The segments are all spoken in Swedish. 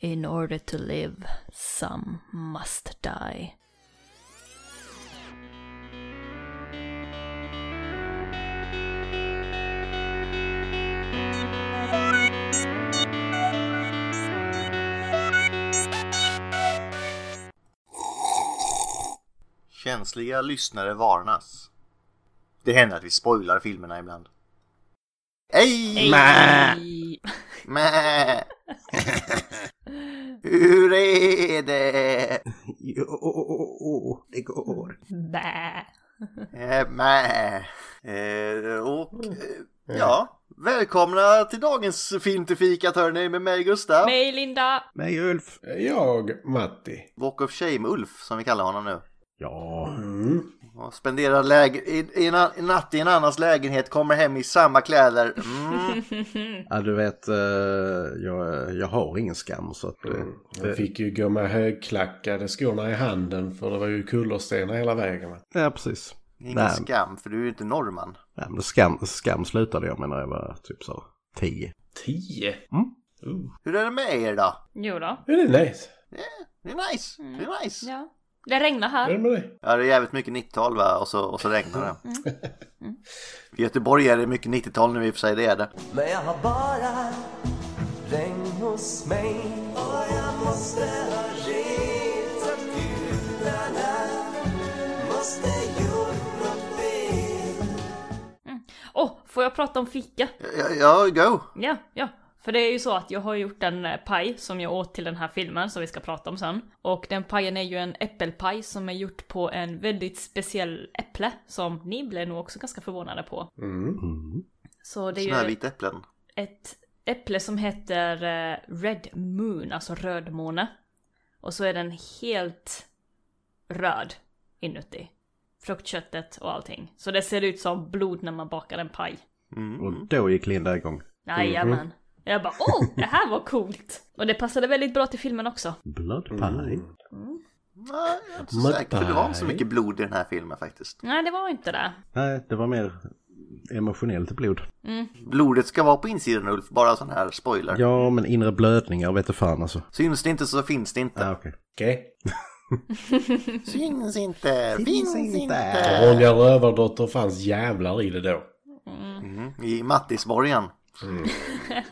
In order to live, some must die. Känsliga lyssnare varnas. Det händer att vi spoilar filmerna ibland. Ej! Ej. Mä! Hur är det? oh, Jo, oh, det går. Bä. Eh, Mä! Eh, och eh, ja, välkomna till dagens film till fikat hörni med mig Gustav. Mig Linda! Mig Ulf. Jag, Matti. Walk of Shame-Ulf som vi kallar honom nu. Ja. Mm. Och spenderar läger, i, i, en an- en natt i en annans lägenhet, kommer hem i samma kläder. Mm. ja, du vet, eh, jag, jag har ingen skam så att... eh, Jag Mm. fick ju gå med högklackade skorna i handen för det var ju kullerstenar hela vägen. va? Ja, precis. Ingen Nej. skam, för du är ju inte norrman. Ja, men skam, skam slutade jag med när jag var typ så 10. Tio? Mm. Uh. Hur är det med er då? Jo då. Är det nice? Det är nice, det är nice. Mm. Ja. Det regnar Är det här. med dig? Ja, det är jävligt mycket 90-tal va? Och så, och så regnar det. Mm. I Göteborg är det mycket 90-tal nu i och för sig, det är det. Men jag har bara regn hos mig och jag måste ha rit att gudarna måste gjort något fel Åh, oh, får jag prata om fika? Ja, ja go! Ja, ja. För det är ju så att jag har gjort en eh, paj som jag åt till den här filmen som vi ska prata om sen. Och den pajen är ju en äppelpaj som är gjort på en väldigt speciell äpple som ni blev nog också ganska förvånade på. Mm. Mm. Så det är ju Snövita äpplen. ett äpple som heter eh, Red Moon, alltså rödmåne. Och så är den helt röd inuti. Fruktköttet och allting. Så det ser ut som blod när man bakar en paj. Och då gick Linda igång. Jajamän. Jag bara åh, det här var coolt! Och det passade väldigt bra till filmen också. Blood Mm. Nej, jag är inte så Men säker, för det var inte så nej. mycket blod i den här filmen faktiskt. Nej, det var inte det. Nej, det var mer emotionellt blod. Blodet ska vara på insidan Ulf, bara sån här spoiler. Ja, men inre blödningar vet du fan alltså. Syns det inte så finns det inte. Ja, Ah, okej. Okej. Syns inte, finns, inte. Ronja Rövardotter fanns jävlar i det då. Mm, I Mattisborgen.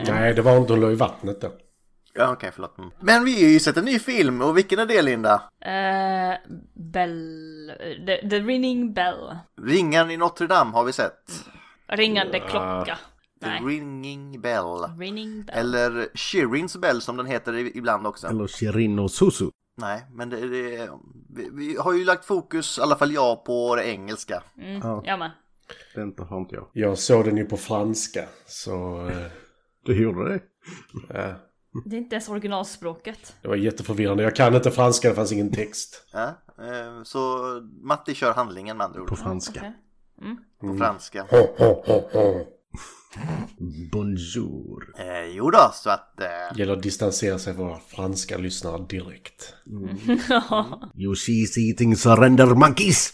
Nej, det var inte hon låg i vattnet då. Ja, okej, förlåt. Mm. Men vi har ju sett en ny film, och vilken är det Linda? Eh, bell... The, the ringing bell. Ringaren i Notre Dame har vi sett. Ringande klocka. The Nej. Ringing Bell. Ringing bell. Eller Shirins Bell som den heter i- ibland också. Eller Shirin Susu. Nej, men det, det, vi, vi har ju lagt fokus, i alla fall jag, på det engelska. Ja, Ja men. det inte har inte jag. Jag såg den ju på franska. Så eh, Du gjorde det? ja. Det är inte ens originalspråket. det var jätteförvirrande. Jag kan inte franska, det fanns ingen text. Ja, eh, så Matti kör handlingen med andra ord, På på franska. okej. franska. Ho, ho, ho, ho. Bonjour. Eh, jo då, så att... Eh, gäller att distansera sig från våra franska lyssnare direkt. You she's eating surrender monkeys!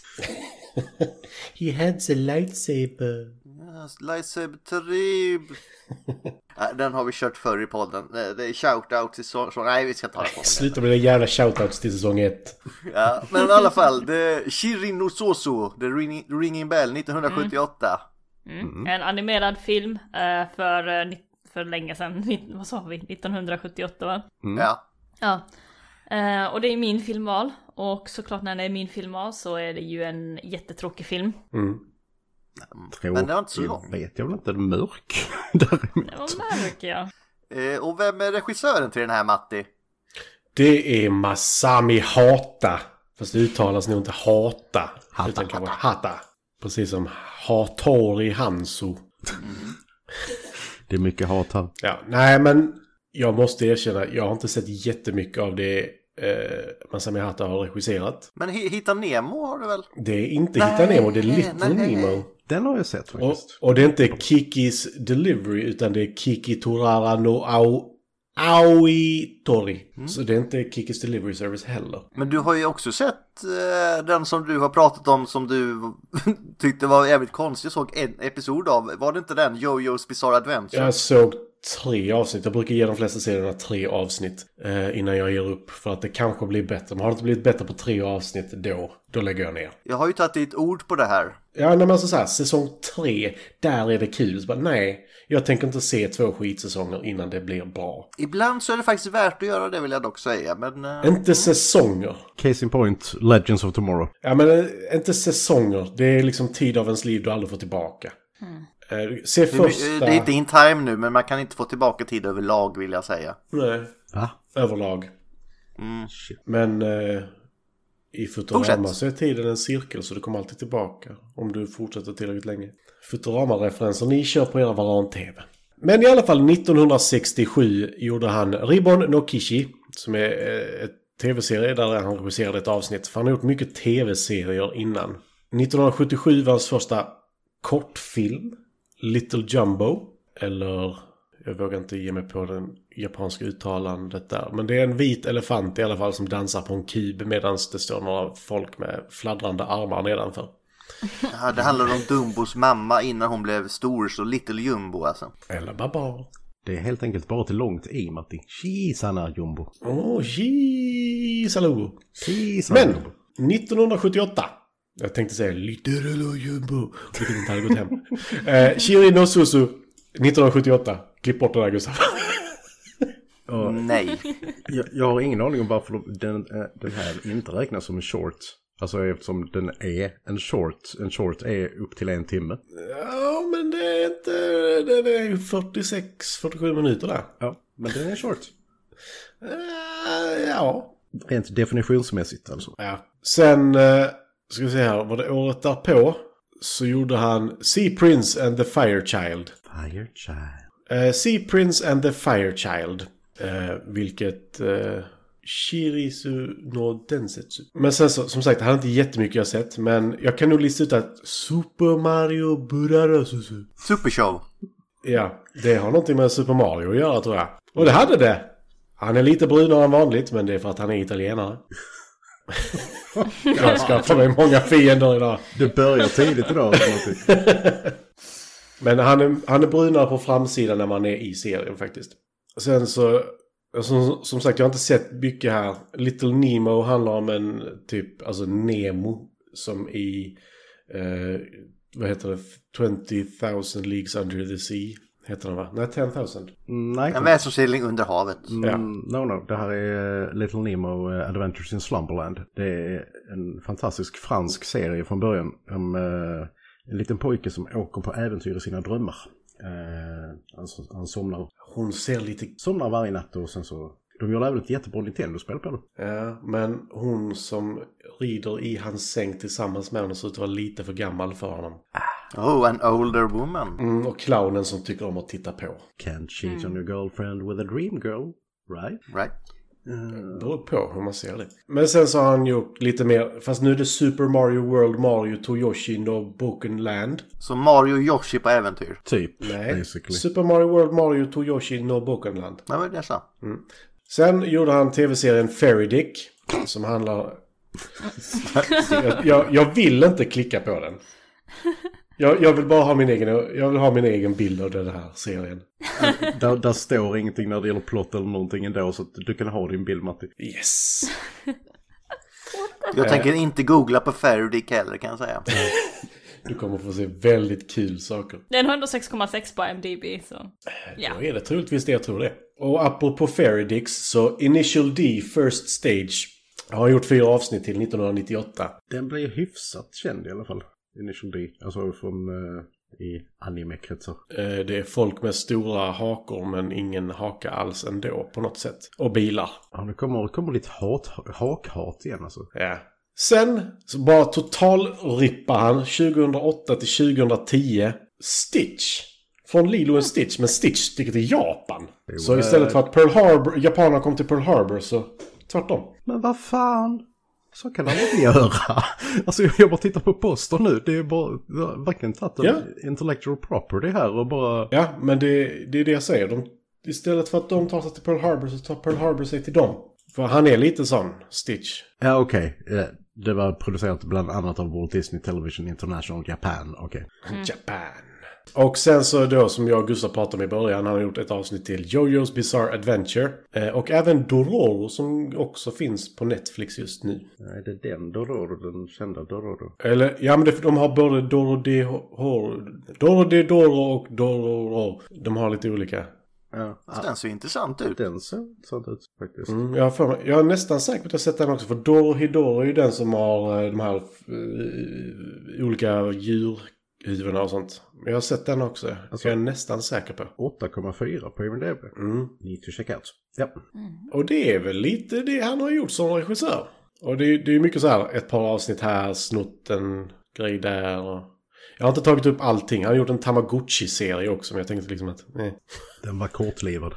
He has a lightsaber. Lyseb Trib. Eh, Den har vi kört förr i podden. Eh, Det är shout-out till så, så, Nej, vi ska ta det på det. Sluta med de jävla shoutouts till säsong 1. Ja, men i alla fall, det Shirin no Soso, The Ringing- Ringing Bell 1978. Mm. En animerad film eh, för, eh, ni- för länge sedan. Ni- Vad sa vi? 1978 va? Ja, Ja. Eh, och det är min filmval. Och såklart när det är min filmval så är det ju en jättetråkig film. Mm. Tråkig Men det var inte så långt. vet jag väl inte. Mörk däremot. Det var märker jag. Eh, och vem är regissören till den här Matti? Det är Masami Hata. Fast det uttalas nog inte hata. Hata, utan kanske hata. Precis som Hattori Hanzo. Det är mycket hat här. Ja, nej men jag måste erkänna, jag har inte sett jättemycket av det eh, Masami Hata har regisserat. Men Hi- Hitta Nemo har du väl? Det är inte Nej, Hitta Nemo, det är Little nej. Nemo. Den har jag sett Och, faktiskt. och det är inte Kikis Delivery utan det är Kiki Torara no au, Aoi Tori. Mm. Så det är inte Kikis Delivery Service heller. Men du har ju också sett eh, den som du har pratat om som du tyckte var jävligt konstig. Jag såg en episod av, var det inte den? Jojo's Bizarre Adventure? Jag såg tre avsnitt. Jag brukar ge de flesta serierna tre avsnitt eh, innan jag ger upp. För att det kanske blir bättre. Men har det inte blivit bättre på tre avsnitt då, då lägger jag ner. Jag har ju tagit ditt ord på det här. Ja, nej, men alltså så här, säsong tre, där är det kul. Så bara, nej, jag tänker inte se två skitsäsonger innan det blir bra. Ibland så är det faktiskt värt att göra det vill jag dock säga. Men eh, Inte säsonger. Case in point, Legends of Tomorrow. Ja, men eh, inte säsonger. Det är liksom tid av ens liv du aldrig får tillbaka. Eh, se det, första... är- det är inte in time nu men man kan inte få tillbaka tid överlag vill jag säga. Nej, Va? överlag. Men eh, i Futurama Fortsätt. så är tiden en cirkel så du kommer alltid tillbaka. Om du fortsätter tillräckligt länge. Futurama-referenser, ni kör på era varan-tv. Men i alla fall 1967 gjorde han Ribbon no Kishi. Som är eh, ett tv-serie där han regisserade ett avsnitt. För han har gjort mycket tv-serier innan. 1977 var hans första kortfilm. Little Jumbo. Eller... Jag vågar inte ge mig på den japanska uttalandet där. Men det är en vit elefant i alla fall som dansar på en kub medan det står några folk med fladdrande armar nedanför. Ja, det handlar om Dumbos mamma innan hon blev stor så Little Jumbo alltså. Eller babar. Det är helt enkelt bara till långt i Matti. Kisana Jumbo. Åh, oh, Kisana Men! Jumbo. 1978. Jag tänkte säga Little Jumbo. Vilket inte hade gått hem. Eh, Shiri no Suzu. 1978. Klipp bort det där Gustav. Nej. Jag, jag har ingen aning om varför de- den, eh, den här inte räknas som en short. Alltså eftersom den är en short. En short är upp till en timme. Ja, men det är inte... Det är 46-47 minuter där. Ja, men den är en short. Eh, ja, Rent definitionsmässigt alltså. Ja. Sen, eh, ska vi se här, var det året därpå så gjorde han Sea Prince and the Fire Child. Fire child. Eh, sea Prince and the Fire Child. Eh, vilket... Eh, Shirisu no Densetsu. Men sen så, som sagt, han har inte jättemycket jag sett, men jag kan nog lista ut att Super Mario Burarasusu. Supershow. Ja, det har någonting med Super Mario att göra tror jag. Och det hade det! Han är lite brunare än vanligt, men det är för att han är italienare. jag skaffar mig många fiender idag. Det börjar tidigt idag. som alltid. Men han är, han är brunare på framsidan när man är i serien faktiskt. Sen så, alltså, som, som sagt jag har inte sett mycket här. Little Nemo handlar om en typ, alltså Nemo som i, eh, vad heter det, 20,000 Leagues Under the Sea. Heter den va? Nej, 10,000. Nej, En väsensskildring under havet. Ja. Mm, no, no. Det här är eh, Little Nemo eh, Adventures in Slumberland. Det är en fantastisk fransk serie från början om eh, en liten pojke som åker på äventyr i sina drömmar. Eh, alltså, han somnar, Hon ser lite somnar varje natt och sen så... De gör även ett jättebra Nintendo-spel på det. Ja, men hon som rider i hans säng tillsammans med honom ser ut att vara lite för gammal för honom. Oh, an older woman. Mm, och clownen som tycker om att titta på. Can't cheat on your girlfriend with a dream girl, right? Right. Det beror på hur man ser det. Men sen så har han gjort lite mer, fast nu är det Super Mario World, Mario Toyoshi no Broken Land. Så Mario och Yoshi på äventyr. Typ, Nej, basically. Super Mario World, Mario Toyoshi no Broken Land. Det var det jag sa. Sen gjorde han tv-serien Fairy Dick, som handlar... jag, jag, jag vill inte klicka på den. Jag, jag vill bara ha min egen, jag vill ha min egen bild av den här serien. där, där står ingenting när det gäller plott eller någonting ändå, så att du kan ha din bild, Matti. Yes! Jag tänker inte googla på Faraday heller kan jag säga. Du kommer få se väldigt kul saker. Den har ändå 6,6 på MDB så... Ja. Då är det troligtvis det jag tror det. Och apropå Fairy Dicks så Initial D First Stage har gjort fyra avsnitt till 1998. Den blev hyfsat känd i alla fall. Initial D. Alltså från eh, i anime-kretsar. Eh, Det är folk med stora hakor men ingen haka alls ändå på något sätt. Och bilar. Ja, nu kommer, kommer lite hat, hakhat igen alltså. Ja. Sen så bara totalrippar han 2008 till 2010 Stitch. Från Lilo and Stitch, men Stitch sticker till Japan. Så istället för att Pearl Harbor, japanerna kom till Pearl Harbor så tvärtom. Men vad fan! Så kan man inte göra! Alltså jag bara tittar på poster nu. Det är bara jag har verkligen tagit en Ja. intellectual property här och bara... Ja, men det, det är det jag säger. De, istället för att de tar sig till Pearl Harbor så tar Pearl Harbor sig till dem. För han är lite sån, Stitch. Ja okej. Eh, Det var producerat bland annat av Walt Disney Television International Japan. Okej. Japan. Och sen så då som jag och Gustav pratade om i början, han har gjort ett avsnitt till Jojo's Bizarre Adventure. Eh, Och även Dororo som också finns på Netflix just nu. Nej, det är den Dororo, den kända Dororo. Eller, ja men det, de har både Doro de Horo, Doro de Doro och Dororo. De har lite olika. Ja, ah, Den ser intressant ut. den ser sånt ut faktiskt. Mm, jag, har för mig, jag är nästan säker på att jag sett den också, för Doro Hidoro är ju den som har eh, de här eh, olika djurhuvudena och sånt. Men jag har sett den också, Alltså- jag är nästan säker på. 8,4 på IMDB. Mm. Need to check out. Ja. Och det är väl lite det han har gjort som regissör. Och det, är- det är mycket så här, ett par avsnitt här, snott en grej där. Och... Jag har inte tagit upp allting. Han har gjort en Tamagotchi-serie också, men jag tänkte liksom att... Nej. Den var kortlivad.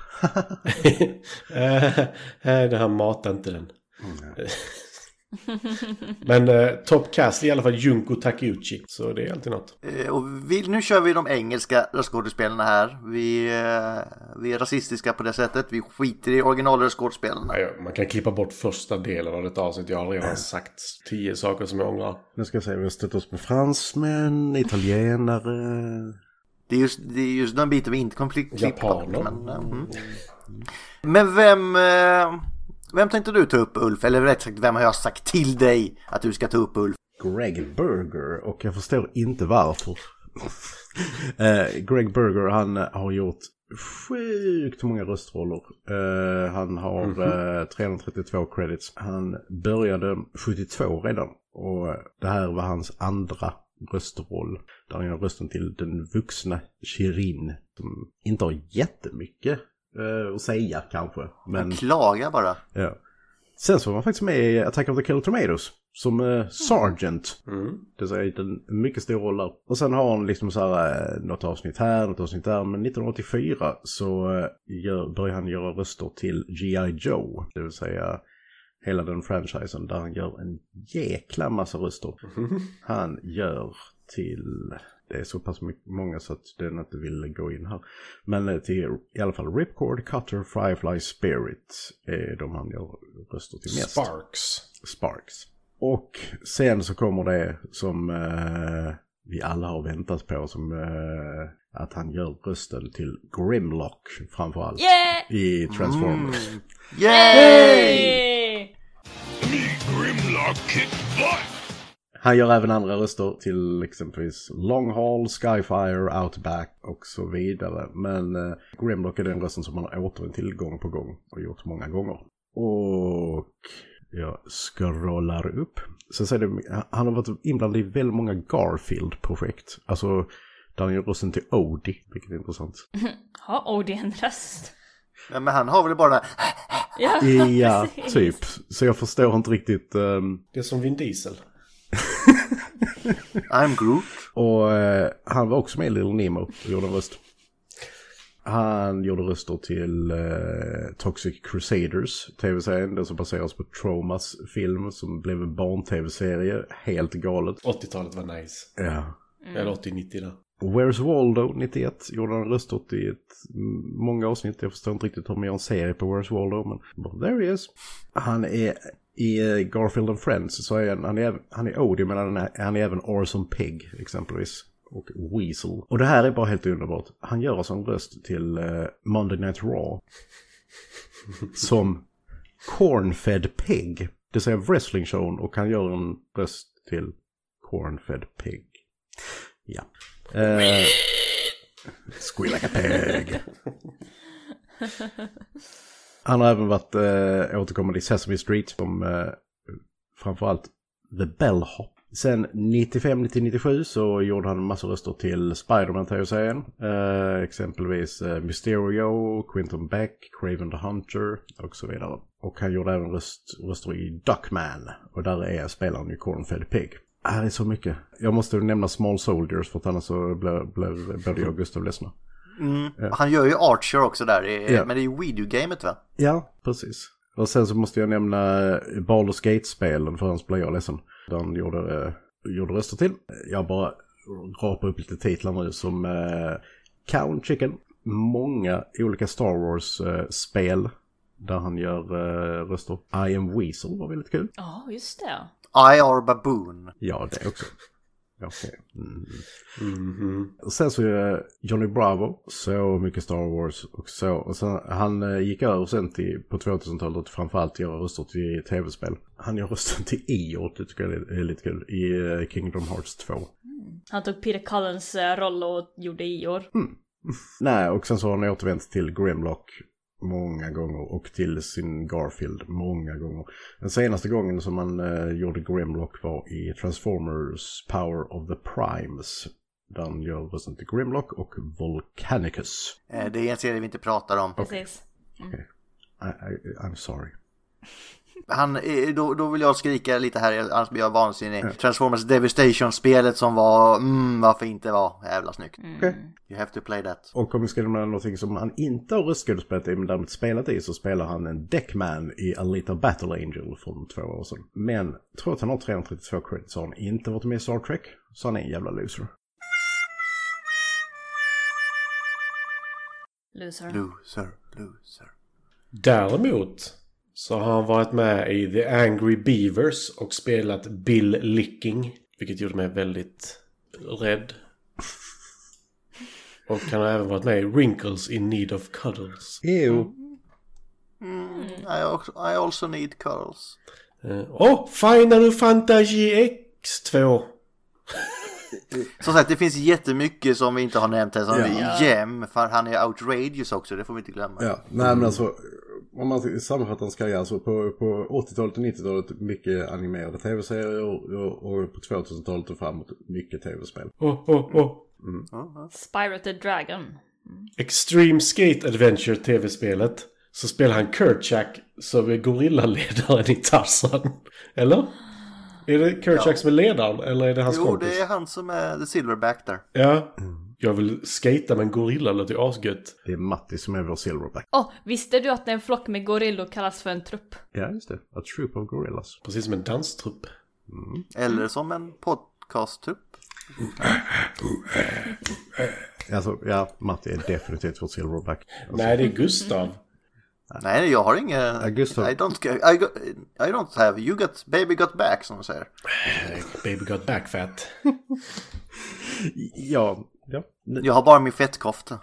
Eh, eh, det här matar inte den. Mm, men eh, Top Cast är i alla fall Junko Takeuchi, så det är alltid något. Eh, Och vi, nu kör vi de engelska röstskådespelarna här. Vi, eh, vi är rasistiska på det sättet. Vi skiter i originalröstskådespelarna. Nej, Man kan klippa bort första delen av ett avsnitt. Jag har redan sagt tio saker som jag ångrar. Nu ska jag säga, vi har stött oss med fransmän, italienare. Det är just, det är just den biten vi inte kommer kli- klippa bort. Japaner. Men, eh, mm. men vem, eh, vem tänkte du ta upp Ulf? Eller rätt sagt, vem har jag sagt till dig att du ska ta upp Ulf? Greg Berger och jag förstår inte varför. Eh, Greg Berger han eh, har gjort sjukt många röstroller. Eh, han har eh, 332 credits. Han började 72 redan och det här var hans andra röstroll. Där han gör rösten till den vuxna Shirin som inte har jättemycket eh, att säga kanske. Men Klaga bara. Ja. Sen så var man faktiskt med i Attack of the Killer Tomatoes som eh, Sergeant. Mm. Det är en mycket stor roll där. Och sen har han liksom så här eh, något avsnitt här, något avsnitt där. Men 1984 så eh, gör, börjar han göra röster till G.I. Joe. Det vill säga hela den franchisen där han gör en jäkla massa röster. Han gör till, det är så pass my- många så att den inte vill gå in här. Men eh, till i alla fall Ripcord, Cutter, Firefly, Spirit är de han gör röster till mest. Sparks. Sparks. Och sen så kommer det som eh, vi alla har väntat på, som eh, att han gör rösten till Grimlock framförallt. Yeah! I Mm. Transformers. Yay! Yay! Han gör även andra röster till exempelvis Longhaul, Skyfire, Outback och så vidare. Men eh, Grimlock är den rösten som han återvänt till gång på gång och gjort många gånger. Och jag scrollar upp. Sen säger det, han har varit inblandad i väldigt många Garfield-projekt. Alltså, där han gör rösten till Odie, vilket är intressant. Har Odie en röst? Men men han har väl bara den här Ja, Ja, precis. typ. Så jag förstår inte riktigt. ehm, Det är som Vin Diesel. I'm Groot. Och eh, han var också med i Little Nemo och gjorde en röst. Han gjorde röster till eh, Toxic Crusaders, tv-serien. Den som baseras på Traumas film som blev en barn-tv-serie. Helt galet. 80-talet var nice. Ja. Eller 80-90 där. Where's Waldo 91 gjorde han röster till ett, m- många avsnitt. Jag förstår inte riktigt om jag har en serie på Where's Waldo, men but there he is. Han är i eh, Garfield and Friends, så är han, han, är, äv- han är Odie, men han är, han är även Orson Pig exempelvis. Och Weasel. Och det här är bara helt underbart. Han gör alltså en röst till eh, Monday Night Raw. som Cornfed Pig. Det säger wrestlingshowen och han gör en röst till Cornfed Pig. Ja. Eh, Squeal like a pig. Han har även varit eh, återkommande i Sesame Street som eh, framförallt The Bellhop. Sen 95 till 97 så gjorde han massor röster till Spider-Man tv-serien. Eh, exempelvis eh, Mysterio, Quinton Beck, Craven the Hunter och så vidare. Och han gjorde även röst, röster i Duckman. Och där är spelaren ju Cornfed Pig. Ah, det är så mycket. Jag måste nämna Small Soldiers för att annars så blev, blev både jag och Gustav ledsna. Mm. Han gör ju Archer också där. i- Ja. Men det är ju Video-gamet va? Ja, precis. Och sen så måste jag nämna eh, Baldur's Gate-spelen för annars blir jag ledsen. Den gjorde, eh, gjorde röster till. Jag bara rapar upp lite titlar nu som eh, Count Chicken. Många olika Star Wars-spel där han gör eh, röster. I am Weasel var väldigt kul. Ja, just det. I are Baboon. Ja, det också. Okej. Mm. Mhm. Och Sen så är Johnny Bravo, så mycket Star Wars och så. Och sen, han eh, gick över sen till, på 2000-talet att framförallt göra röster till tv-spel. Han gör rösten till Eeyore, det tycker jag är är lite kul, i eh, Kingdom Hearts 2. Han tog Peter Cullens eh, roll och gjorde Ior. Nej, och sen så har han återvänt till Grimlock många gånger och till sin Garfield många gånger. Den senaste gången som han eh, gjorde Grimlock var i Transformers Power of the Primes. Där han gör rösten till Grimlock och Volcanicus. Eh, Det är en serie vi inte pratar om. Precis. I, I, I'm sorry. Han, eh, då, då vill jag skrika lite här, annars blir jag vansinnig. Transformers Devastation-spelet som var, mm, varför inte var jävla snyggt. You have to play that. Och om vi ska nämna någonting som han inte har röstskådespelat i men däremot spelat i så spelar han en Deckman i Alita Battle Angel från två år sedan. Men trots att han har 332 credits har han inte varit med i Star Trek, så han är en jävla loser. Loser. Loser, loser. Däremot så har han varit med i The Angry Beavers och spelat Bill Licking. Vilket gjorde mig väldigt rädd. Och han har även varit med i Wrinkles in Need of Cuddles. Ew. I also, I also need curls. Eh, Åh! Final Fantasy X2! Som sagt, det finns jättemycket som vi inte har nämnt här som är gem, för han är outrageous också, det får vi inte glömma. Ja, nej men alltså om man sammanfattar hans karriär så på, på 80-talet och 90-talet mycket animerade tv-serier och, och, och på 2000-talet och framåt mycket tv-spel. Åh, åh, åh! Spyro the Dragon. Extreme Skate Adventure TV-spelet så spelar han Kerchak som är gorillaledaren i Tarzan. Eller? Är det Kerchak som är ledaren eller är det hans Jo, kompis? det är han som är the silverback där. Ja. Jag vill skata med en gorilla, låter ju asgött. Det är Matti som är vår silverback. Åh, visste du att en flock med gorillor kallas för en trupp? Ja, just det. A troop of gorillas. Precis som en danstrupp. Eller som en podcast-tupp. Alltså, ja, Matti är definitivt vår silverback. Nej, det är Gustav. Nej, jag har inga... Ja, Gustav. I don't, ca- I, go- I don't have... You got... Baby got back, som de säger. Baby got back fat. Ja. Ja. Jag har bara min fettkofta.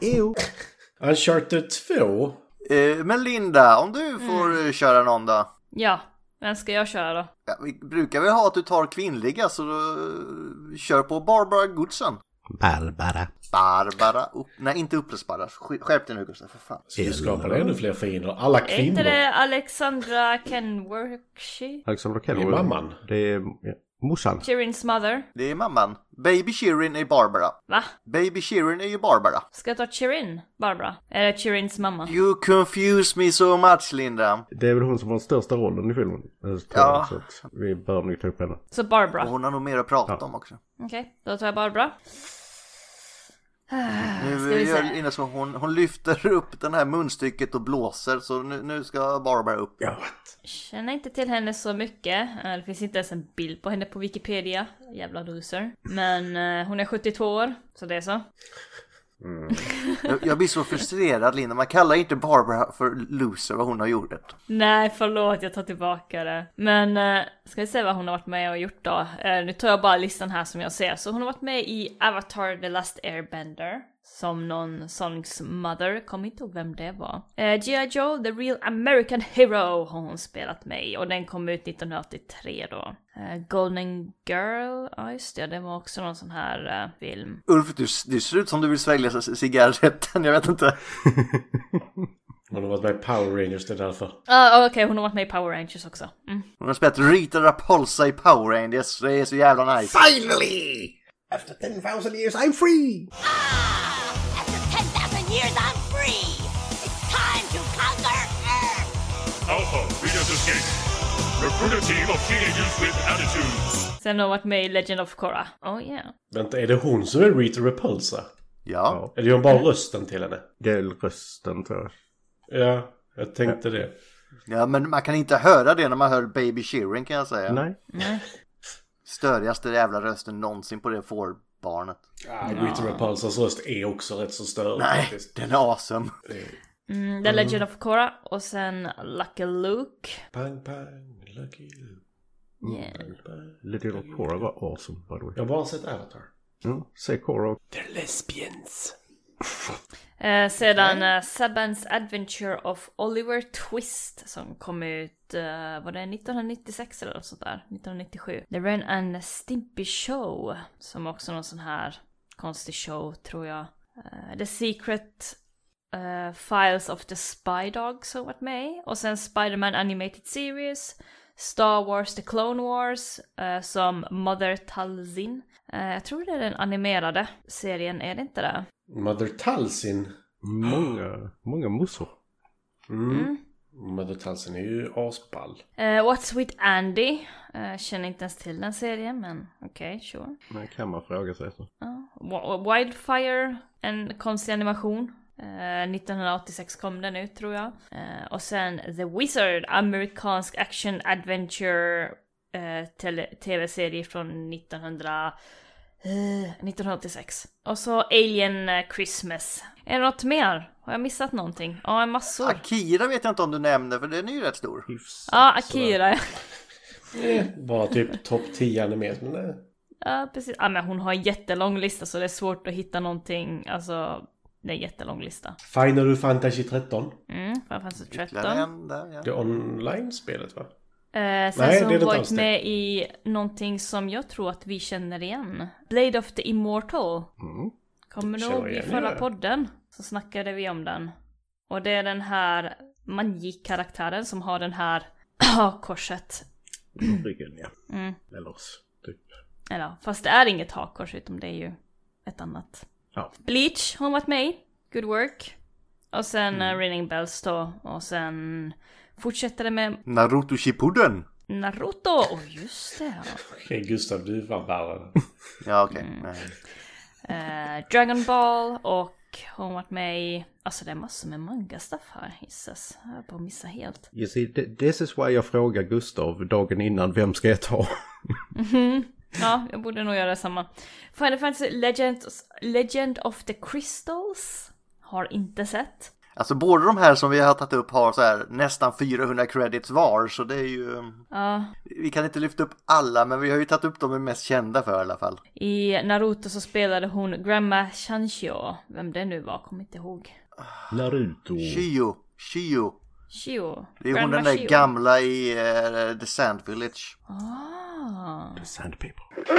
Ew. Uncharted 2. Eh, men Linda, om du får eh, köra någon då? Ja, vem ska jag köra då? Ja, vi brukar väl ha att du tar kvinnliga, så då, eh, kör på Barbara Goodson. Barbara. Barbara... Upp... Nej, inte upplösbara. Sk- Skärp dig nu, Gustav, för fan. Så du skapar ännu fler fiender. Alla Är inte kvinnor. det Alexandra Kenworthy? Alexander Kelly. Det är mamman. Det är ja, morsan. Chirins mother? Det är mamman. Baby Shirin är Barbara. Va? Baby Shirin är ju Barbara. Ska jag ta Chirin, Barbara? Eller Chirins mamma? You confuse me so much, Linda. Det är väl hon som har den största rollen i filmen. eh, tror jag, Ja. Så att vi bör nog ta upp henne. Så Barbara. Och hon har nog mer att prata om också. Okej, då tar jag Barbara. Ska Nu vi gör se. Linda så hon, hon lyfter upp den här munstycket och blåser, så nu, nu ska Barbara upp. Ja, what? Känner inte till henne så mycket. Eh, Det finns inte ens en bild på henne på Wikipedia. Jävla loser. Men eh, hon är 72 år, så det är så. Jag, jag blir så frustrerad, Linda. Man kallar inte Barbara för loser, vad hon har gjort. Nej, förlåt, jag tar tillbaka det. Men eh, ska vi se vad hon har varit med och gjort då. Eh, nu tar jag bara listan här som jag ser. Så hon har varit med i Avatar The Last Airbender. Som någon Sonics mother, kommer inte ihåg vem det var. Eh, G.I. Joe, The Real American Hero har hon spelat med i och den kom ut 1983 då. Eh, Golden Girl, ja just det, det var också någon sån här eh, film. Ulf, du, du ser ut som du vill svälja c- cigaretten, jag vet inte. Hon har varit med i Power Rangers, det är därför. Ah, Okej, hon har varit med i Power Rangers också. Mm. Hon har spelat Rita Repulsa i Power Rangers, det är så jävla nice. Finally! After 10,000 years I'm free! Ah! After 10,000 years, I'm free! It's time to conquer Earth! Alpha, we just escaped. Recruit a team of teenagers with attitudes. Sen har hon varit med i Legend of Korra. Oh yeah. Vänta, är det hon som är Rita Repulsa? Ja. Eller gör hon Mm. bara rösten till henne? Det är rösten tror jag. Ja, jag tänkte det. ja, men man kan inte höra det när man hör Baby Sheeran kan jag säga. Nej. Nej. Störigaste jävla rösten någonsin på det fårbarnet. Ah, Rita Repulsas röst är också rätt så störig Nej, faktiskt. den är awesome. Mm, The Legend of Korra och sen Lucky Luke. Pang, pang, lucky you. Yeah. Little Cora var awesome by the way. Jag har bara sett Avatar. Mm. Se Cora och They're lesbians. Eh, sedan eh, Sabans Adventure of Oliver Twist som kom ut, eh, var det 1996 eller något sånt där? 1997. The Ren and Stimpy Show som också någon sån här konstig show tror jag. Eh, the Secret eh, Files of the Spy Dog som varit med i. Och sen Spider-Man Animated Series, Star Wars The Clone Wars eh, som Mother Talzin. Eh, jag tror det är den animerade serien, är det inte det? Mother Talsin. många, många mossor. Mm. Mother Talsin är ju asball. Eh, What's with Andy? Eh, känner inte ens till den serien men okej, sure. Men kan man fråga sig så. Wa- Wildfire, en konstig animation. Eh, 1986 kom den ut tror jag. Eh, och sen The Wizard, amerikansk action adventure eh, tele- tv-serie från 1900, eh, 1986. Och så Alien eh, Christmas. Är det något mer? Har jag missat någonting? Ja, en massor. Akira vet jag inte om du nämnde för den är ju rätt stor. Hyfsat. Ja, Akira. Bara typ topp 10 animerat. Men eh, nej. Ja, precis. Ja, men hon har en jättelång lista så det är svårt att hitta någonting. Alltså, det är en jättelång lista. Final Fantasy 13. Mm, Final Fantasy 13. Ytterligare en där ja. Det online-spelet va? Eh, sen Nej, så det har är det hon inte alls varit det. med i någonting som jag tror att vi känner igen. Blade of the Immortal. Mm. Kommer du Känner ihåg i igen det, förra ja. podden? Så snackade vi om den. Och det är den här Manji-karaktären som har den här korset. Ryggen ja. Mm. Eller oss. Typ. Eller, fast det är inget hakkors utom det är ju ett annat. Ja. Bleach har hon varit med i. Good work. Och sen eh, Ringing Bells då. Och sen fortsätter det med Naruto Shippuden. Naruto. Åh just det. ja. Okej Gustav, du var värre. Ja okej. Nej. Eh, Dragon Ball och hon har varit med i... Alltså det är massor med manga-stuff här. Hisses. Jag höll på att missa helt. You see, th- this is why jag frågar Gustav dagen innan vem ska jag ta? Ja, jag borde nog göra samma. Final Fantasy Legends, Legend of the Crystals. Har inte sett. Alltså båda de här som vi har tagit upp har så här nästan 400 credits var så det är ju... Ja, Vi kan inte lyfta upp alla men vi har ju tagit upp de vi är mest kända för i alla fall. I Naruto så spelade hon Grandma Shanshio. Vem det nu var, kommer inte ihåg. Naruto. Shio. Shio. Shio. Det är hon Grandma den där Shio. gamla i eh, The Sand Village. Ah. The Sand people.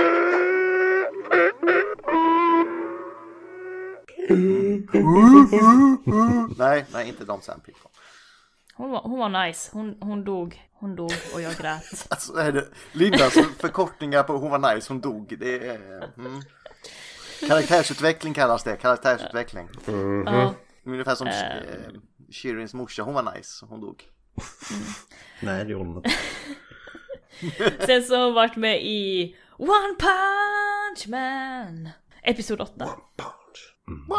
Nej, nej inte de Sand People. Hon, var, hon var nice. Hon, hon dog. Hon dog och jag grät. Alltså är det Lindas förkortningar på hon var nice, hon dog. Det är... Mm. Karaktärsutveckling kallas det, karaktärsutveckling. Mm-hmm. Ja. Ungefär som Ehm. eh, Shirins morsa, hon var nice, hon dog. Nej, det gjorde hon inte. Sen så har hon varit med i One Punch Man! Episod 8. One Punch, Mm.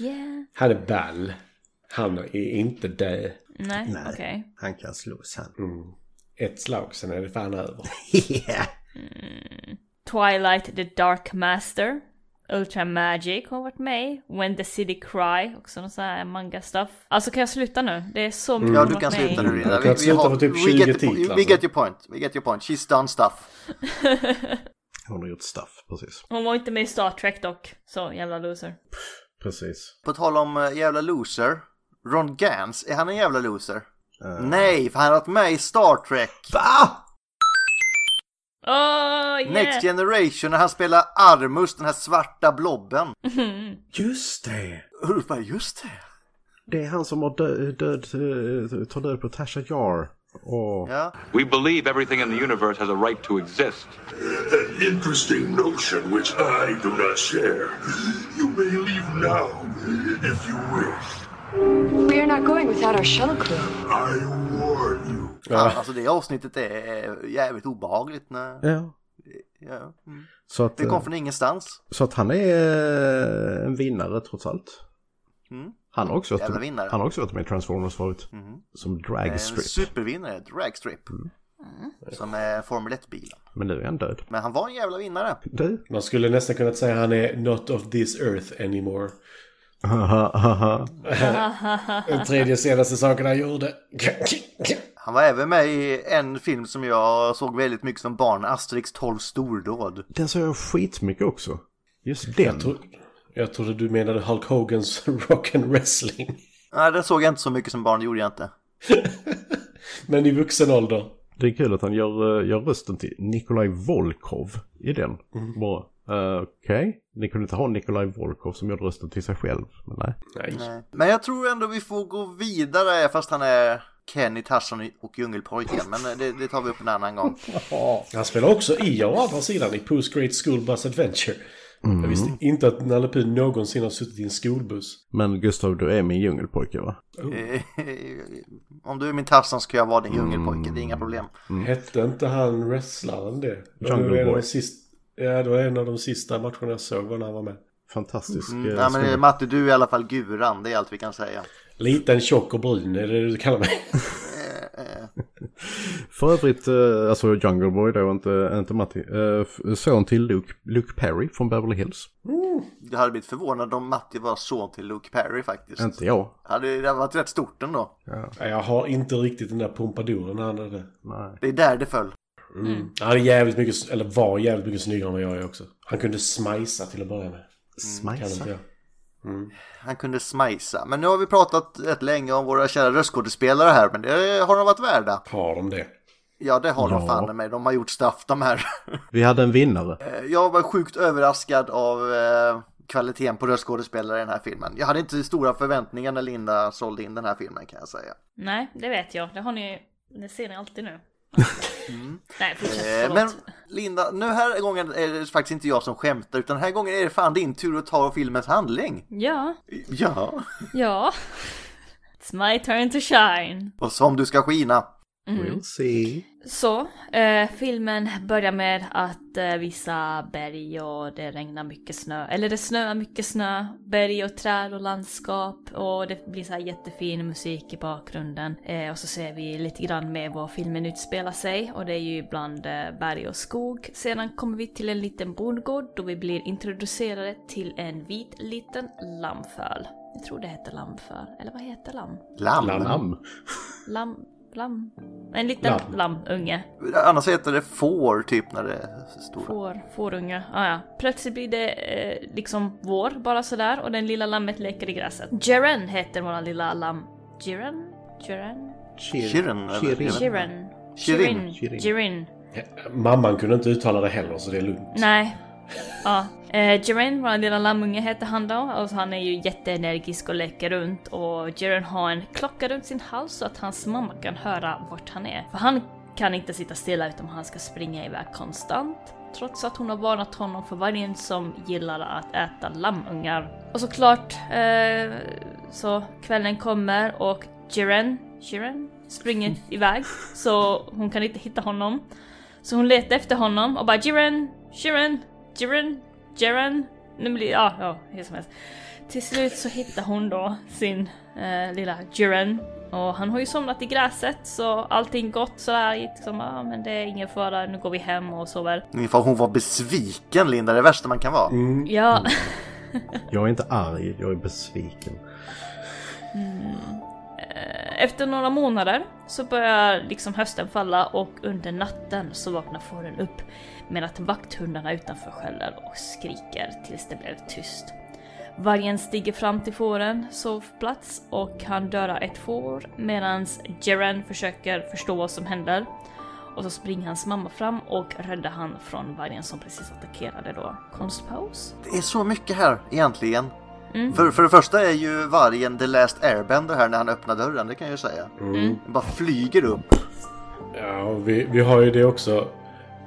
yeah. Han är ball. Han är inte död. Nej, Nej. okej. Han kan slås han. Ett slag, sen är det fan över. Yeah. Twilight the Dark Master. Ultra Magic har varit med i. When the City Cry, också någon sån här manga-stuff. Alltså kan jag sluta nu? Det är så mycket Mm. Ja, hon du har kan varit med sluta i. nu Linda. Du kan sluta på typ we, 20 get the, po- titlar, we så. get your point, we get your point. She's done stuff. Hon har gjort stuff, precis. Hon var inte med i Star Trek dock, så jävla loser. Precis. På tal om eh, jävla loser. Ron Gans, är han en jävla loser? Eh. Nej, för han har varit med i Star Trek Åh, yeah! Next Generation när han spelar Armus, den här svarta blobben. Just det! Och du bara, just det. Det är han som har dö- död, eh, tar död på Tasha Yar. Och Ja. We believe everything in the universe has a right to exist. An interesting notion which I do not share. You may leave now if you wish. We are not going without our shuttle crew. I warn you. Fan, alltså det avsnittet är jävligt obehagligt. När... Ja. Ja. Mm. Så, att, Det kom eh, från ingenstans. så att han är eh, en vinnare trots allt. Mm. Han har också, Jävla varit, vinnare. Mhm. han har också varit med i Transformers förut. Som En dragstrip. supervinnare, Dragstrip. Som är Formel 1-bil. Men nu är han död. Men han var en jävla vinnare. Du? Man skulle nästan kunna säga han är not of this earth anymore. Haha, haha. Den tredje senaste saken han gjorde. Han var även med i en film som jag såg väldigt mycket som barn, Asterix 12 stordåd. Den såg jag skitmycket också. Just den. Jag, tro, jag trodde du menade Hulk Hogans Rock and Wrestling. Nej, den såg jag inte så mycket som barn, det gjorde jag inte. Men i vuxen ålder. Det är kul att han gör, eh, gör rösten till Nikolaj Volkov i den. Bara, eh, okej. Ni kunde inte ha Nikolaj Volkov som gör rösten till sig själv. Men nej. Nej. Nej. Men jag tror ändå vi får gå vidare, fast han är Kenny, Tarzan och Djungelpojken. Men det, det tar vi upp en annan gång. Han spelar också i å andra sidan i Post Great School Bus Adventure. Jag visste inte att Nalle Puh någonsin har suttit i en skolbuss. Men Gustav, du är min djungelpojke va? Eh, Om du är min Tarzan ska jag vara din Djungelpojke, det är inga problem. Mm. Hette inte han wrestlaren det? Det var Jungle en av de Boy. sist- Ja, det var en av de sista matcherna jag såg var när han var med. Fantastisk. Mm, eh, nej, men snubbe. eh, Matte, du är i alla fall Guran, det är allt vi kan säga. Liten, tjock och brun, är det det du kallar mig? För övrigt, eh, alltså Jungle Boy då, inte, inte Matti. eh, f- Son till Luke, Luke Perry från Beverly Hills. Jag hade blivit förvånad om Matti var son till Luke Perry faktiskt. Inte jag. Hade det hade varit rätt stort ändå. Nej, Jag har inte riktigt den där pompaduren han hade. Nej. Det är där det föll. Mm. Han är jävligt mycket, eller var jävligt mycket snyggare än vad jag är också. Han kunde smajsa till att börja med. Kan inte Smajsa. jag. Han kunde smajsa. Men nu har vi pratat rätt länge om våra kära röstskådespelare här, men det har de varit värda. Har de det? Ja, det har de Ja. fan med. De har gjort straff de här. Eh, Vi hade en vinnare. Jag var sjukt överraskad av eh, kvaliteten på röstskådespelare i den här filmen. Jag hade inte stora förväntningar när Linda sålde in den här filmen kan jag säga. Nej, det vet jag. Det har ni... Det ser ni alltid nu. Nej, fortsätt. Eh, Förlåt. men Linda, nu här gången är det faktiskt inte jag som skämtar utan den här gången är det fan din tur att ta filmens handling. Ja, Ja. ja. It's my turn to shine. Och som du ska skina. We'll see. Mm. Så, eh, filmen börjar med att eh, vissa berg och det regnar mycket snö. Eller det snöar mycket snö. Berg och träd och landskap. Och det blir så här jättefin musik i bakgrunden. Eh, och så ser vi lite grann med var filmen utspelar sig. Och det är ju bland eh, berg och skog. Sedan kommer vi till en liten bondgård då vi blir introducerade till en vit liten lammföl. Jag tror det heter lammföl. Eller vad heter lamm? Lamm. Lamm. Lamm... Lamm? En liten Lamm. lammunge. Annars heter det får typ när det är stora. Får, fårunge. Ah, ja. Plötsligt blir det eh, liksom vår bara sådär och den lilla lammet leker i gräset. Jeren heter våra lilla lamm. Jeren? Jeren? Shirin, eller? Jiren. Shirin. Jirin. Shirin. Jirin. Ja, Mamman kunde inte uttala det heller, så det är lugnt. Nej. Ja. Eh, Jiren, vår lilla lammunge, heter han då. Och han är ju jätteenergisk och leker runt. Och Jiren har en klocka runt sin hals så att hans mamma kan höra vart han är. För han kan inte sitta stilla utan han ska springa iväg konstant. Trots att hon har varnat honom för vargen som gillar att äta lammungar. Och såklart, eh, så kvällen kommer och Jiren, Jiren springer iväg. Så hon kan inte hitta honom. Så hon letar efter honom och bara Jiren, Jiren, Jiren, Jiren. Nu blir ja, ja, hur som helst. Till slut så hittar hon då sin eh, lilla Jiren. Och han har ju somnat i gräset så allting gott sådär. Liksom, ah, men det är ingen fara, nu går vi hem och sover. Ungefär hon var besviken Linda, det värsta man kan vara. Mm. Ja, Jag är inte arg, jag är besviken. efter några månader så börjar liksom hösten falla och under natten så vaknar fåren upp med att vakthundarna utanför skäller och skriker tills det blev tyst. Vargen stiger fram till fåren sovplats och han dödar ett får medan Jeren försöker förstå vad som händer. Och så springer hans mamma fram och räddar han från vargen som precis attackerade då. Konstpaus? Det är så mycket här egentligen. För, för det första är ju vargen The Last Airbender här när han öppnar dörren, det kan jag ju säga. Den bara flyger upp. Ja, och vi, vi har ju det också.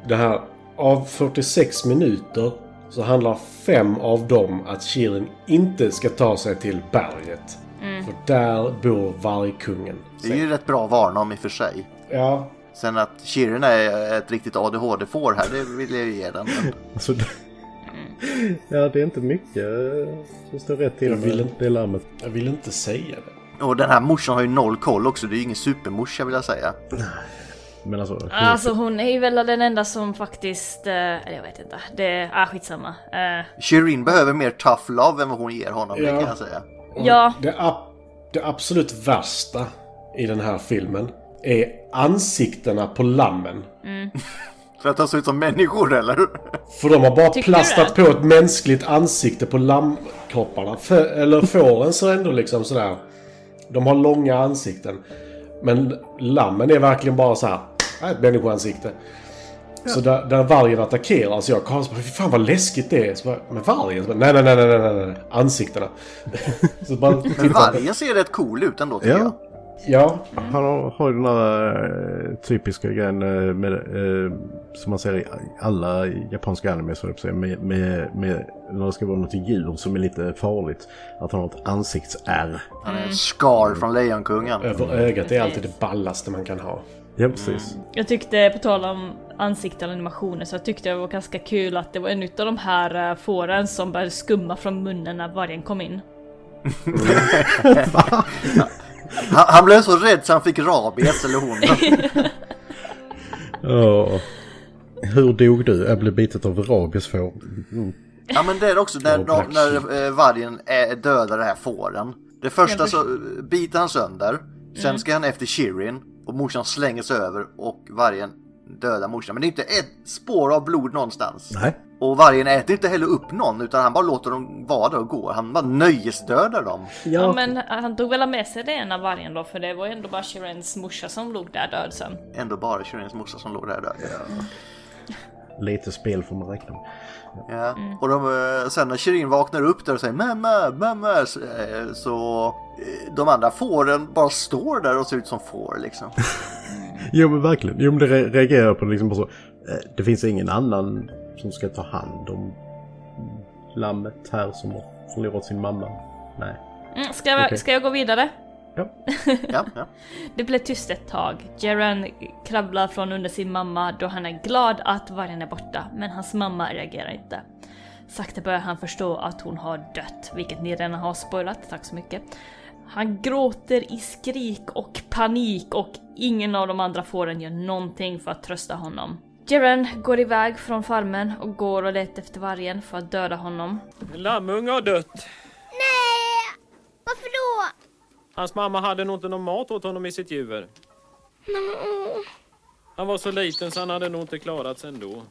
Det här, av 46 minuter så handlar fem av dem att Shirin inte ska ta sig till berget. För där bor vargkungen. Det är ju rätt bra varna om i och för sig. Ja, Sen att Shirin är ett riktigt ADHD-får här, det vill jag ju ge den. Alltså, det... Mm. Ja, det är inte mycket eh, som står rätt till Jag vill med inte- det larmet. jag vill inte säga det. Och den här morsan har ju noll koll också, det är ju ingen supermorsa vill jag säga. Men alltså, Ah, Alltså hon är ju väl den enda som faktiskt... eh, Eller jag vet inte. Det... Ah, skitsamma. Eh, Shirin behöver mer tough love än vad hon ger honom, det Ja. kan jag säga. Ja. Det, ab- det absolut värsta i den här filmen är ansiktena på lammen. För att de ser ut som människor eller? För de har bara Tycker du plastat på ett mänskligt ansikte på lammkropparna. För, eller fåren ser ändå liksom sådär. De har långa ansikten. Men lammen är verkligen bara så här. "Här är Ett människoansikte. Så där, där vargen attackerar så jag och Karl så bara, "Fy fan vad läskigt det är. Så bara, men vargen? Så bara, nej, nej, nej, nej, nej, nej, nej, ansiktena. så bara Men tittar vargen ser rätt cool ut ändå tycker Ja. jag. Ja, Han har, har ju den där eh, typiska grejen eh, med, eh, som man ser i alla japanska animes, höll jag på att säga, med, med, med när det ska vara något djur som är lite farligt. Att han har ett ansiktsärr. Han är en Scar från Lejonkungen. över ögat är alltid det ballaste man kan ha. Ja, precis. Jag tyckte, på tal om ansikten och animationer, så jag tyckte det var ganska kul att det var en utav de här eh, fåren som började skumma från munnen när vargen kom in. Han, han blev så rädd så han fick rabies eller hon. Ja. Hur dog du? Jag blev bitet av rabiesfår. Ja men det är också när, de, Och Black när eh, vargen eh, dödar det här fåren. Det första Jag så eh, biter han sönder. Sen ska han efter Shirin och morsan slänger sig över och vargen dödar morsan. Men det är inte ett spår av blod någonstans. Nej. Och vargen äter inte heller upp någon utan han bara låter dem vara där och gå. Han bara nöjesdödar dem. Ja. men eh, han tog väl med sig det ena vargen då, för det var ju ändå bara Shirens morsa som låg där död sen. Ändå bara Shirins morsa som låg där död. Lite spel får man räkna med. Ja. Och de, eh, sen när Shirin vaknar upp där och säger mamma, mamma så, eh, så eh, de andra fåren bara står där och ser ut som får liksom. Jo men verkligen. Jo men det re- reagerar jag på liksom bara så. eh, Det finns ingen annan som ska ta hand om lammet här som har förlorat sin mamma. Nej. Mm, ska, jag, Okej. ska jag gå vidare? Ja. Ja, ja. Det blev tyst ett tag. Jaren kravlar från under sin mamma då han är glad att vargen är borta, men hans mamma reagerar inte. Sakta börjar han förstå att hon har dött, vilket ni redan har spoilat, tack så mycket. Han gråter i skrik och panik och ingen av de andra fåren gör någonting för att trösta honom. Jaren går iväg från farmen och går och letar efter vargen för att döda honom. Lammunge har dött. Nej! Eh, Varför då? Hans mamma hade nog inte någon mat åt honom i sitt huvud. Han var så liten så han hade nog inte klarat sig ändå.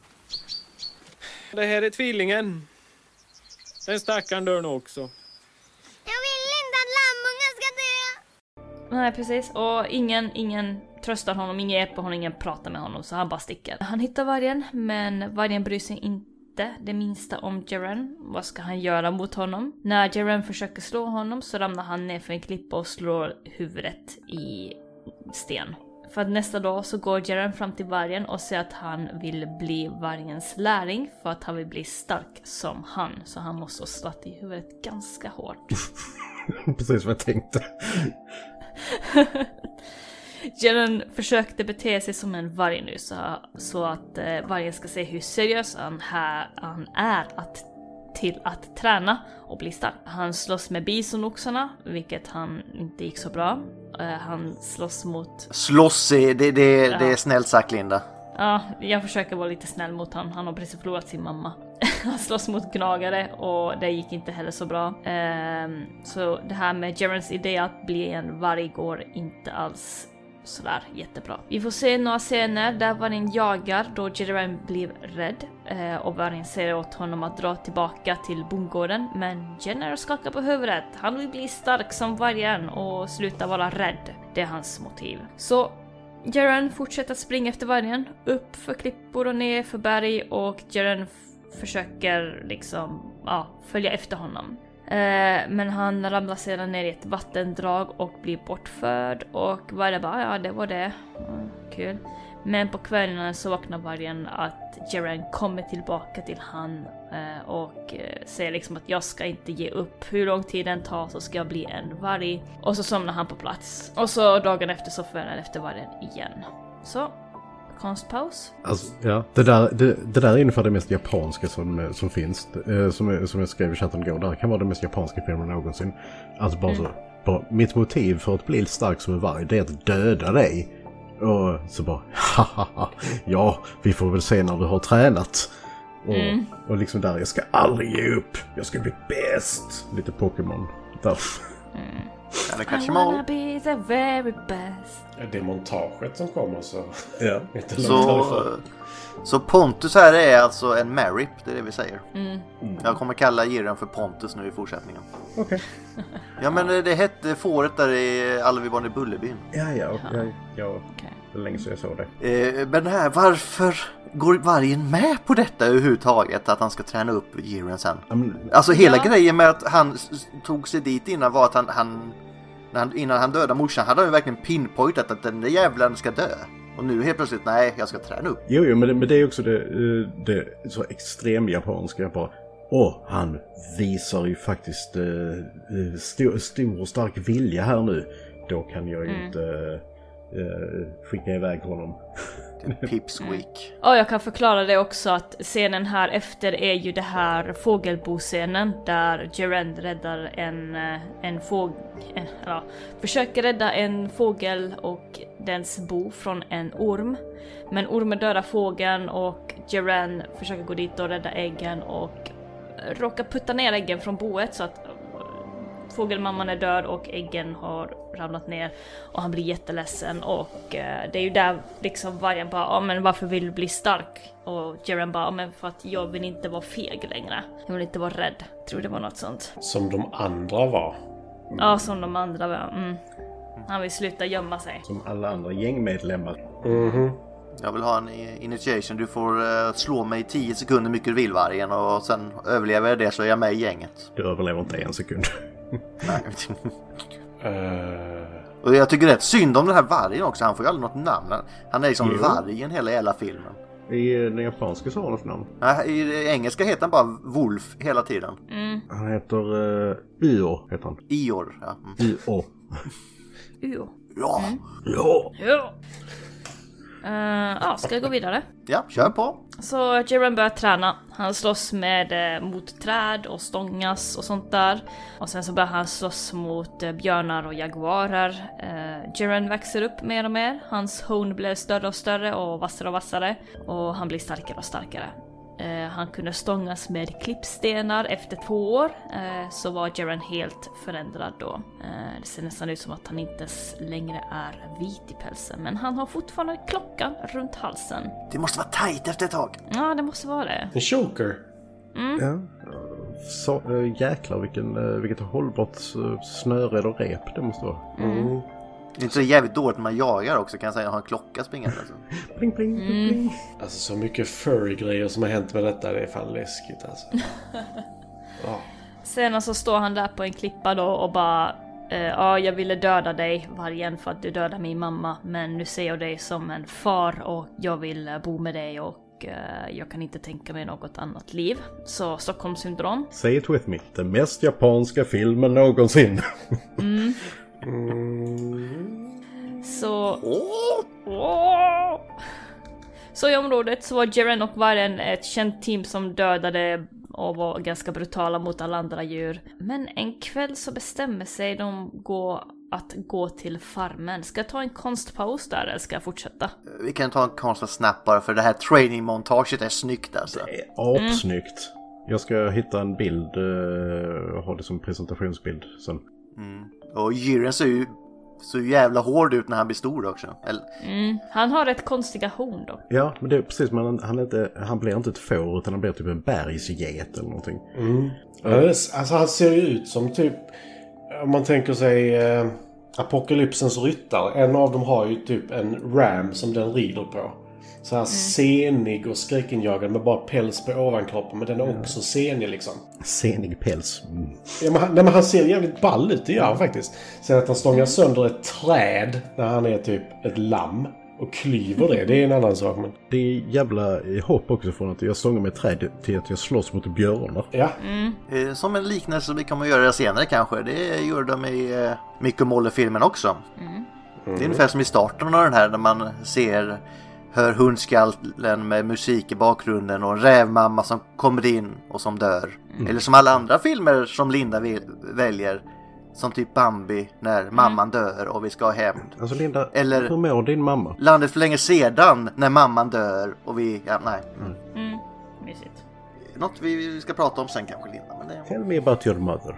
Det här är tvillingen. Den stackaren dör nog också. Jag vill inte att lammungen ska dö! Nej precis, och ingen, ingen tröstar honom, ingen hjälper honom, ingen pratar med honom så han bara sticker. Han hittar vargen, men vargen bryr sig inte det minsta om Jaren. Vad ska han göra mot honom? När Jaren försöker slå honom så ramlar han ner för en klippa och slår huvudet i sten. För att nästa dag så går Jaren fram till vargen och säger att han vill bli vargens lärling för att han vill bli stark som han. Så han måste ha slagit i huvudet ganska hårt. Precis vad jag tänkte. Jelen försökte bete sig som en varg nu så, så att eh, vargen ska se hur seriös han, här, han är att, till att träna och bli stark. Han slåss med bisonoxarna, vilket han inte gick så bra. Eh, han slåss mot... Slåss, är- det, det, det är snällt sagt Linda. Ja, jag försöker vara lite snäll mot han. Han har precis förlorat sin mamma. han slåss mot gnagare och det gick inte heller så bra. Ehm, så det här med Jerens idé att bli en varg går inte alls sådär jättebra. Vi får se några scener där vargen jagar då Jeren blir rädd eh, och vargen säger åt honom att dra tillbaka till bondgården men Jenner skakar på huvudet. Han vill bli stark som vargen och sluta vara rädd. Det är hans motiv. Så Jeren fortsätter att springa efter vargen, upp för klippor och ner för berg och Jeren f- försöker liksom, ja, följa efter honom. Eh, men han ramlar sedan ner i ett vattendrag och blir bortförd och vargen bara ja, det var det. Mm, kul. Men på kvällen så vaknar vargen att Jeren kommer tillbaka till han eh, och eh, säger liksom att jag ska inte ge upp. Hur lång tid den tar så ska jag bli en varg. Och så somnar han på plats. Och så dagen efter så följer han efter vargen igen. Så, konstpaus. Alltså, ja. det, där, det, det där är ungefär det mest japanska som, eh, som finns. Eh, som, som jag skrev i chatten igår. Det här kan vara den mest japanska filmen någonsin. Alltså bara så. Bara, mitt motiv för att bli stark som en varg det är att döda dig. Och så bara hahaha. Ja, vi får väl se när du har tränat. Och, och liksom där, jag ska aldrig ge upp. Jag ska bli bäst. Lite Pokémon. Där. Gotta catch I them all. wanna be the very best. Ja, Det är montaget som alltså, kommer så... Ja. Inte långt Så, härifrån. eh, så Pontus här är alltså en Marip, det är det vi säger. Mm. Jag kommer kalla Jiren för Pontus nu i fortsättningen. Okej. Ja men eh, det hette fåret där i Alveborn i Bullerbyn. Ja, ja. och Jag, jag, Okej. det var länge sedan jag såg det. Eh, Men här, varför går vargen med på detta överhuvudtaget? Att han ska träna upp Jiren sen? Ja, men- Alltså hela Ja. grejen med att han s- s- tog sig dit innan var att han, han, när han innan han dödade morsan hade han ju verkligen pinpointat att den där jävlen ska dö. Och nu helt plötsligt, nej jag ska träna upp. Jo, jo, men det, men det är också det, eh, det så extrem japanska bara. Åh, han visar ju faktiskt eh, eh, stor, stor och stark vilja här nu. Då kan jag ju inte eh, skicka iväg honom. Pipsqueak. Ja, jag kan förklara det också att scenen här efter är ju det här fågelboscenen där Gerend räddar en, eh, en fågel, ja, försöker rädda en fågel och dens bo från en orm. Men ormen dödar fågeln och Gerend försöker gå dit och rädda äggen och råkar putta ner äggen från boet så att eh, fågelmamman är död och äggen har ramlat ner och han blir jätteledsen och eh, det är ju där liksom vargen bara ja men varför vill du bli stark? Och Jeren bara ja men för att jag vill inte vara feg längre. Jag vill inte vara rädd. Tror det var något sånt. Som de andra var. Ja som de andra var. Mm. Han vill sluta gömma sig. Som alla andra gängmedlemmar. Mhm. Jag vill ha en i- initiation. Du får eh, slå mig i 10 sekunder hur mycket du vill vargen och sen överlever jag det så är jag med i gänget. Du överlever inte en sekund. Nej. Eh, och jag tycker det är ett synd om den här vargen också. Han får ju aldrig något namn. Han är ju som Jo. vargen hela jävla filmen. I eh, den japanska så har han ett namn. Nej, I det engelska heter han bara Wolf hela tiden. Han heter uh, Uo, heter han. Ior. Ja. Mm. Uo. Jo. Ja. Ja! Jo. Eh, ja, ska jag gå vidare? ja, kör på. Så Jiren börjar träna. Han slåss med, eh, mot träd och stångas och sånt där. Och sen så börjar han slåss mot eh, björnar och jaguarer. Eh, Jiren växer upp mer och mer. Hans horn blir större och större och vassare och vassare. Och han blir starkare och starkare. Eh, han kunde stångas med klippstenar efter två år. Eh, så var Jiren helt förändrad då. Eh, det ser nästan ut som att han inte ens längre är vit i pälsen. Men han har fortfarande klockan runt halsen. Det måste vara tajt efter ett tag. Ja, det måste vara det. En choker. ja. Så, eh, jäklar vilken, eh, vilket hållbart eh, snöre eller rep det måste vara. Det är inte så jävligt dåligt när man jagar också kan jag säga. Har en klocka springande. Alltså. Pling, pling, pling, pling. Alltså så mycket furry-grejer som har hänt med detta. Det är fan läskigt alltså. Sen så står han där på en klippa då och bara eh, Ja, jag ville döda dig vargen för att du dödade min mamma. Men nu ser jag dig som en far och jag vill eh, bo med dig och eh, jag kan inte tänka mig något annat liv. Så Stockholmssyndrom. Say it with me. Den mest japanska filmen någonsin. Mm. Mm. Så... Åh! Så i området så var Jeren och vargen ett känt team som dödade och var ganska brutala mot alla andra djur. Men en kväll så bestämmer sig de gå att gå till farmen. Ska jag ta en konstpaus där eller ska jag fortsätta? Vi kan ta en konstig snap bara för det här training-montaget är snyggt alltså. Apsnyggt. Jag ska hitta en bild eh, och ha det som presentationsbild sen. Och Jiren ser ju så jävla hård ut när han blir stor också. Eller, Han har rätt konstiga horn dock. Ja, men det är precis. Men han, han, är inte, han blir inte ett får utan han blir typ en bergsget eller någonting. Ja, det är- Alltså han ser ju ut som typ... Om man tänker sig eh, apokalypsens ryttare. En av dem har ju typ en ram som den rider på. Så här senig och skräckinjagande med bara päls på ovankroppen. Men den är också senig liksom. Senig päls. Mm. Ja, men han, nej, men han ser jävligt ball ut, det gör han faktiskt. Sen att han stångar sönder ett träd när han är typ ett lamm och klyver det, det är en annan sak. Men, Det är jävla eh, hopp också från att jag sångar med träd till att jag slåss mot björnar. ja. eh, som en liknelse vi kommer att göra senare kanske. Det gör de i eh, Mikko Molle-filmen också. Det är ungefär som i starten av den här när man ser Hör hundskallen med musik i bakgrunden och en rävmamma som kommer in och som dör. Eller som alla andra filmer som Linda vill, väljer. Som typ Bambi när mamman dör och vi ska ha hämnd. Alltså Linda, Eller- hur mår din mamma? Landet för länge sedan när mamman dör och vi... Ja, nej. Mysigt. Något vi ska prata om sen kanske Linda. Men det... Tell me about your mother.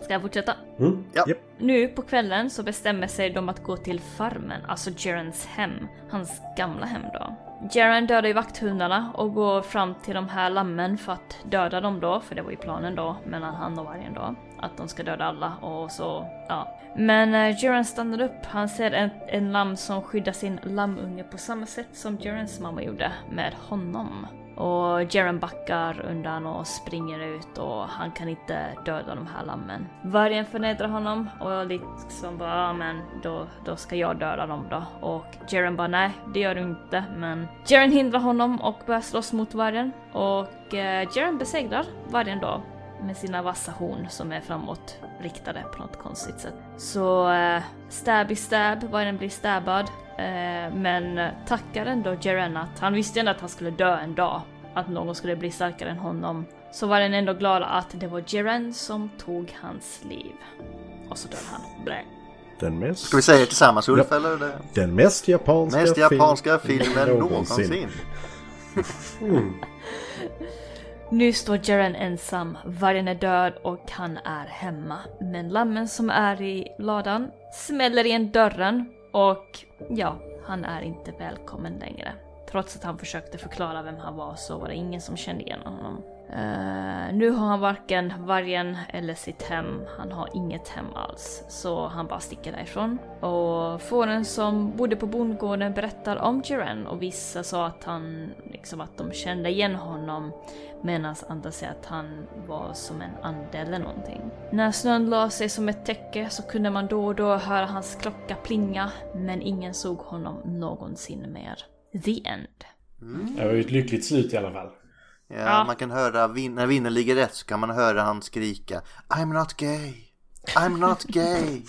Ska jag fortsätta? Mm. Ja. Japp. Nu på kvällen så bestämmer sig de att gå till farmen, alltså Gerans hem. Hans gamla hem då. Geran dödar ju vakthundarna och går fram till de här lammen för att döda dem då, för det var ju planen då mellan han och vargen då. Att de ska döda alla och så, ja. Men eh, Geran stannar upp, han ser en, en lamm som skyddar sin lammunge på samma sätt som Gerans mamma gjorde med honom. Och Jaren backar undan och springer ut och han kan inte döda de här lammen. Vargen förnedrar honom och liksom bara ja men då, då ska jag döda dem då. Och Jaren bara nej det gör du inte men Jaren hindrar honom och börjar slåss mot vargen. Och eh, Jaren besegrar vargen då med sina vassa horn som är framåt riktade på något konstigt sätt. Så eh, stab i stab, vargen blir stabbad. Eh, men tackar ändå Jaren att han visste ändå att han skulle dö en dag. Att någon skulle bli starkare än honom. Så var den ändå glad att det var Jaren som tog hans liv. Och så dör han. Blä. Den mest, Ska vi säga det tillsammans Ulf eller? Det... den mest japanska, Mest japanska film- filmen någonsin. Nu står Jaren ensam, vargen är död och han är hemma. Men lammen som är i ladan smäller igen dörren och ja, han är inte välkommen längre. Trots att han försökte förklara vem han var så var det ingen som kände igen honom. Eh, nu har han varken vargen eller sitt hem. Han har inget hem alls. Så han bara sticker därifrån. Och fåren som bodde på bondgården berättar om Jiren och vissa sa att han liksom att de kände igen honom medan andra säger att han var som en ande eller någonting. När snön la sig som ett täcke så kunde man då och då höra hans klocka plinga men ingen såg honom någonsin mer. The end. Det var ju ett lyckligt slut i alla fall. Ja, Ja. Man kan höra, vin- när vinnaren ligger rätt så kan man höra han skrika I'm not gay, I'm not gay.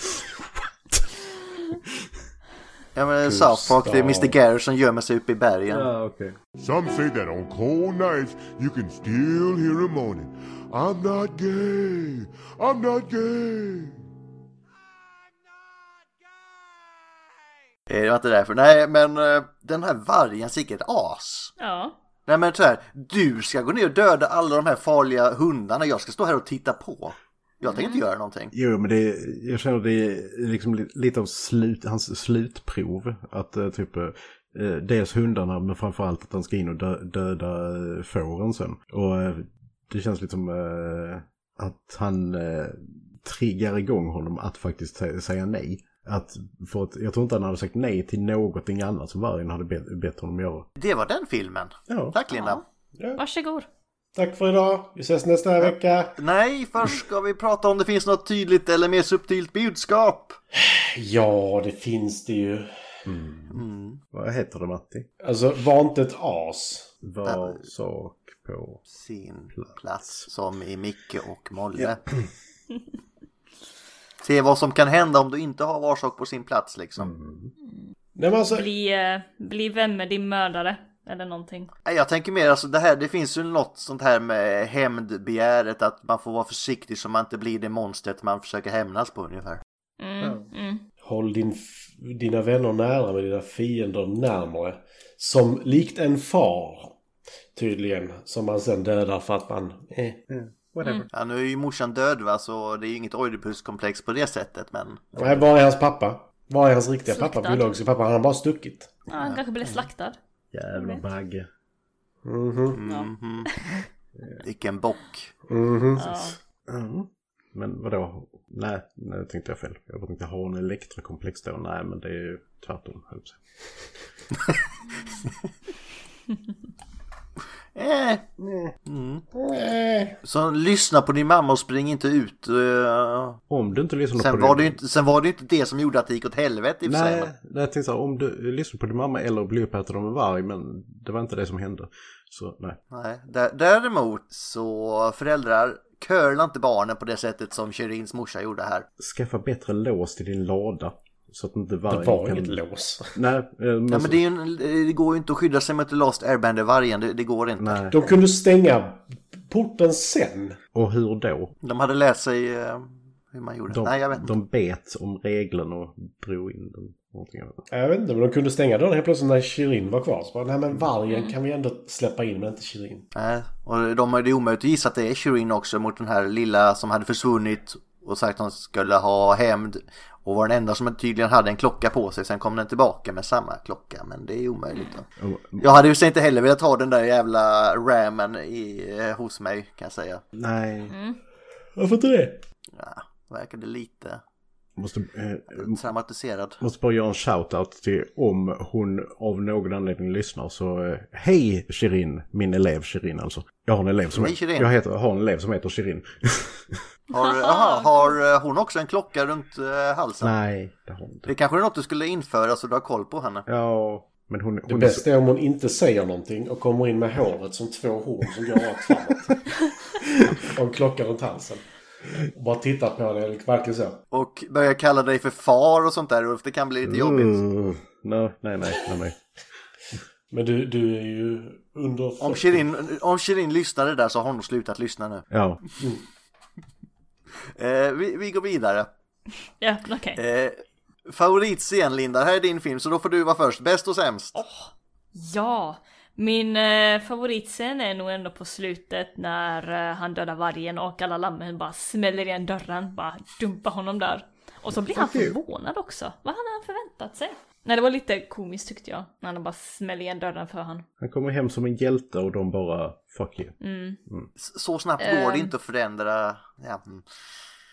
ja men South Park, det är Mr Garrison gömmer sig uppe i bergen. Ja, okej. Some say that on cold nights you can still hear him moaning, I'm not gay, I'm not gay. Eh, Det var inte därför. Nej men eh, den här vargen är ett as. Ja. Nej men tyvärr, du ska gå ner och döda alla de här farliga hundarna. Jag ska stå här och titta på. Jag tänker inte göra någonting. Jo, men det, jag känner det är liksom li- lite av slut, hans slutprov. Att eh, typ, eh, dels hundarna men framförallt att han ska in och dö, döda eh, fåren sen. Och eh, det känns lite som eh, att han eh, triggar igång honom att faktiskt sä- säga nej. Att, för att, jag tror inte han hade sagt nej till någonting annat som vargen hade bett, bett honom göra. Det var den filmen. Ja. Tack Linda. Varsågod. Tack för idag. Vi ses nästa vecka. Nej, först ska vi prata om det finns något tydligt eller mer subtilt budskap. Ja, det finns det ju. Vad heter det Matti? Alltså, var inte ett as. Var sak på... Sin plats som i Micke och Molle. Se vad som kan hända om du inte har var sak på sin plats liksom. Nej, men alltså, Bli, eh, bli vän med din mördare. Eller någonting. Nej, Jag tänker mer alltså det här, det finns ju något sånt här med hämndbegäret att man får vara försiktig så man inte blir det monstret man försöker hämnas på ungefär. Mm, mm. håll din, f- dina vänner nära men dina fiender närmare. Som likt en far. Tydligen. Som man sen dödar för att man... Eh. Ja, nu är ju morsan död va, så det är ju inget Oidipuskomplex på det sättet men... Nej, var är hans pappa? Var är hans riktiga pappa? Slaktad. Biologiska pappa? Han har bara stuckit. Ja, han kanske blev slaktad. Jävla bagge. Mhm. Vilken bock. mhm. Ja. Mm. Men vadå? Nej, nu tänkte jag fel. Jag tänkte ha en elektrakomplex då. Nej, men det är ju tvärtom. höll jag på att säga. Eh. Mm. Så lyssna på din mamma och spring inte ut. eh. Om du inte lyssnar på Sen var, det ju inte, sen var det ju inte det som gjorde att det gick åt helvete i och för sig. Nej, men- nej, jag tänkte så här, om du lyssnar på din mamma eller blir uppäten av en varg, men det var inte det som hände. Så nej. Nej. Dä- Däremot så föräldrar, curla inte barnen på det sättet som Sherins morsa gjorde här. Skaffa bättre lås till din lada. Så att inte vargen Det var kan... inget lås. Nej, eh, men, Ja, men det, är ju en, det går ju inte att skydda sig mot Lost Airbender-vargen, det, det går inte. nej. De kunde stänga porten sen. Och hur då? De hade lärt sig eh, hur man gjorde. De, Nej, jag vet inte. de bet om regeln och drog in den. Någonting annat. Jag vet inte, men de kunde stänga dörren helt plötsligt när Shirin var kvar. Så bara, nej men vargen kan vi ändå släppa in, men inte Shirin. Nej, och de är det är omöjligt att gissa att det är Shirin också mot den här lilla som hade försvunnit och sagt att hon skulle ha hämnd och var den enda som tydligen hade en klocka på sig. Sen kom den tillbaka med samma klocka, men det är omöjligt. Då. Och, Jag hade ju sig inte heller velat ha den där jävla ramen i, eh, hos mig kan jag säga. nej, Varför inte det? Ja, verkade lite måste, eh, traumatiserad. måste bara göra en shout-out till om hon av någon anledning lyssnar så eh, hej Shirin, min elev Shirin alltså. Jag har en elev som, Hej, Shirin. jag heter, har en elev som heter Shirin. Har, aha, har eh, hon också en klocka runt eh, halsen? nej, det har hon inte. Det kanske är något du skulle införa så du har koll på henne. Ja, men hon, Det hon är så- bästa är om hon inte säger någonting och kommer in med håret som två horn som går rakt framåt. och en klocka runt halsen. Och bara tittar på det, verkligen så. Och börja kalla dig för far och sånt där Ulf, det kan bli lite jobbigt. Uh, no, nej, nej, nej, nej. Men du, du är ju under 40. Om Shirin, om Shirin lyssnade där så har hon slutat lyssna nu. Ja, Eh, vi, vi går vidare. Ja, okej. Eh, favoritscen Linda, här är din film så då får du vara först. Bäst och sämst. Ja, min eh, favoritscen är nog ändå på slutet när eh, han dödar vargen och alla lammen bara smäller igen dörren, bara dumpar honom där. Och så blir han förvånad också. Vad hade han förväntat sig? Nej, det var lite komiskt tyckte jag, när de bara smäller igen dörren för han. han kommer hem som en hjälte och de bara fuck you. S- Så snabbt går det inte att förändra. Ja. mm.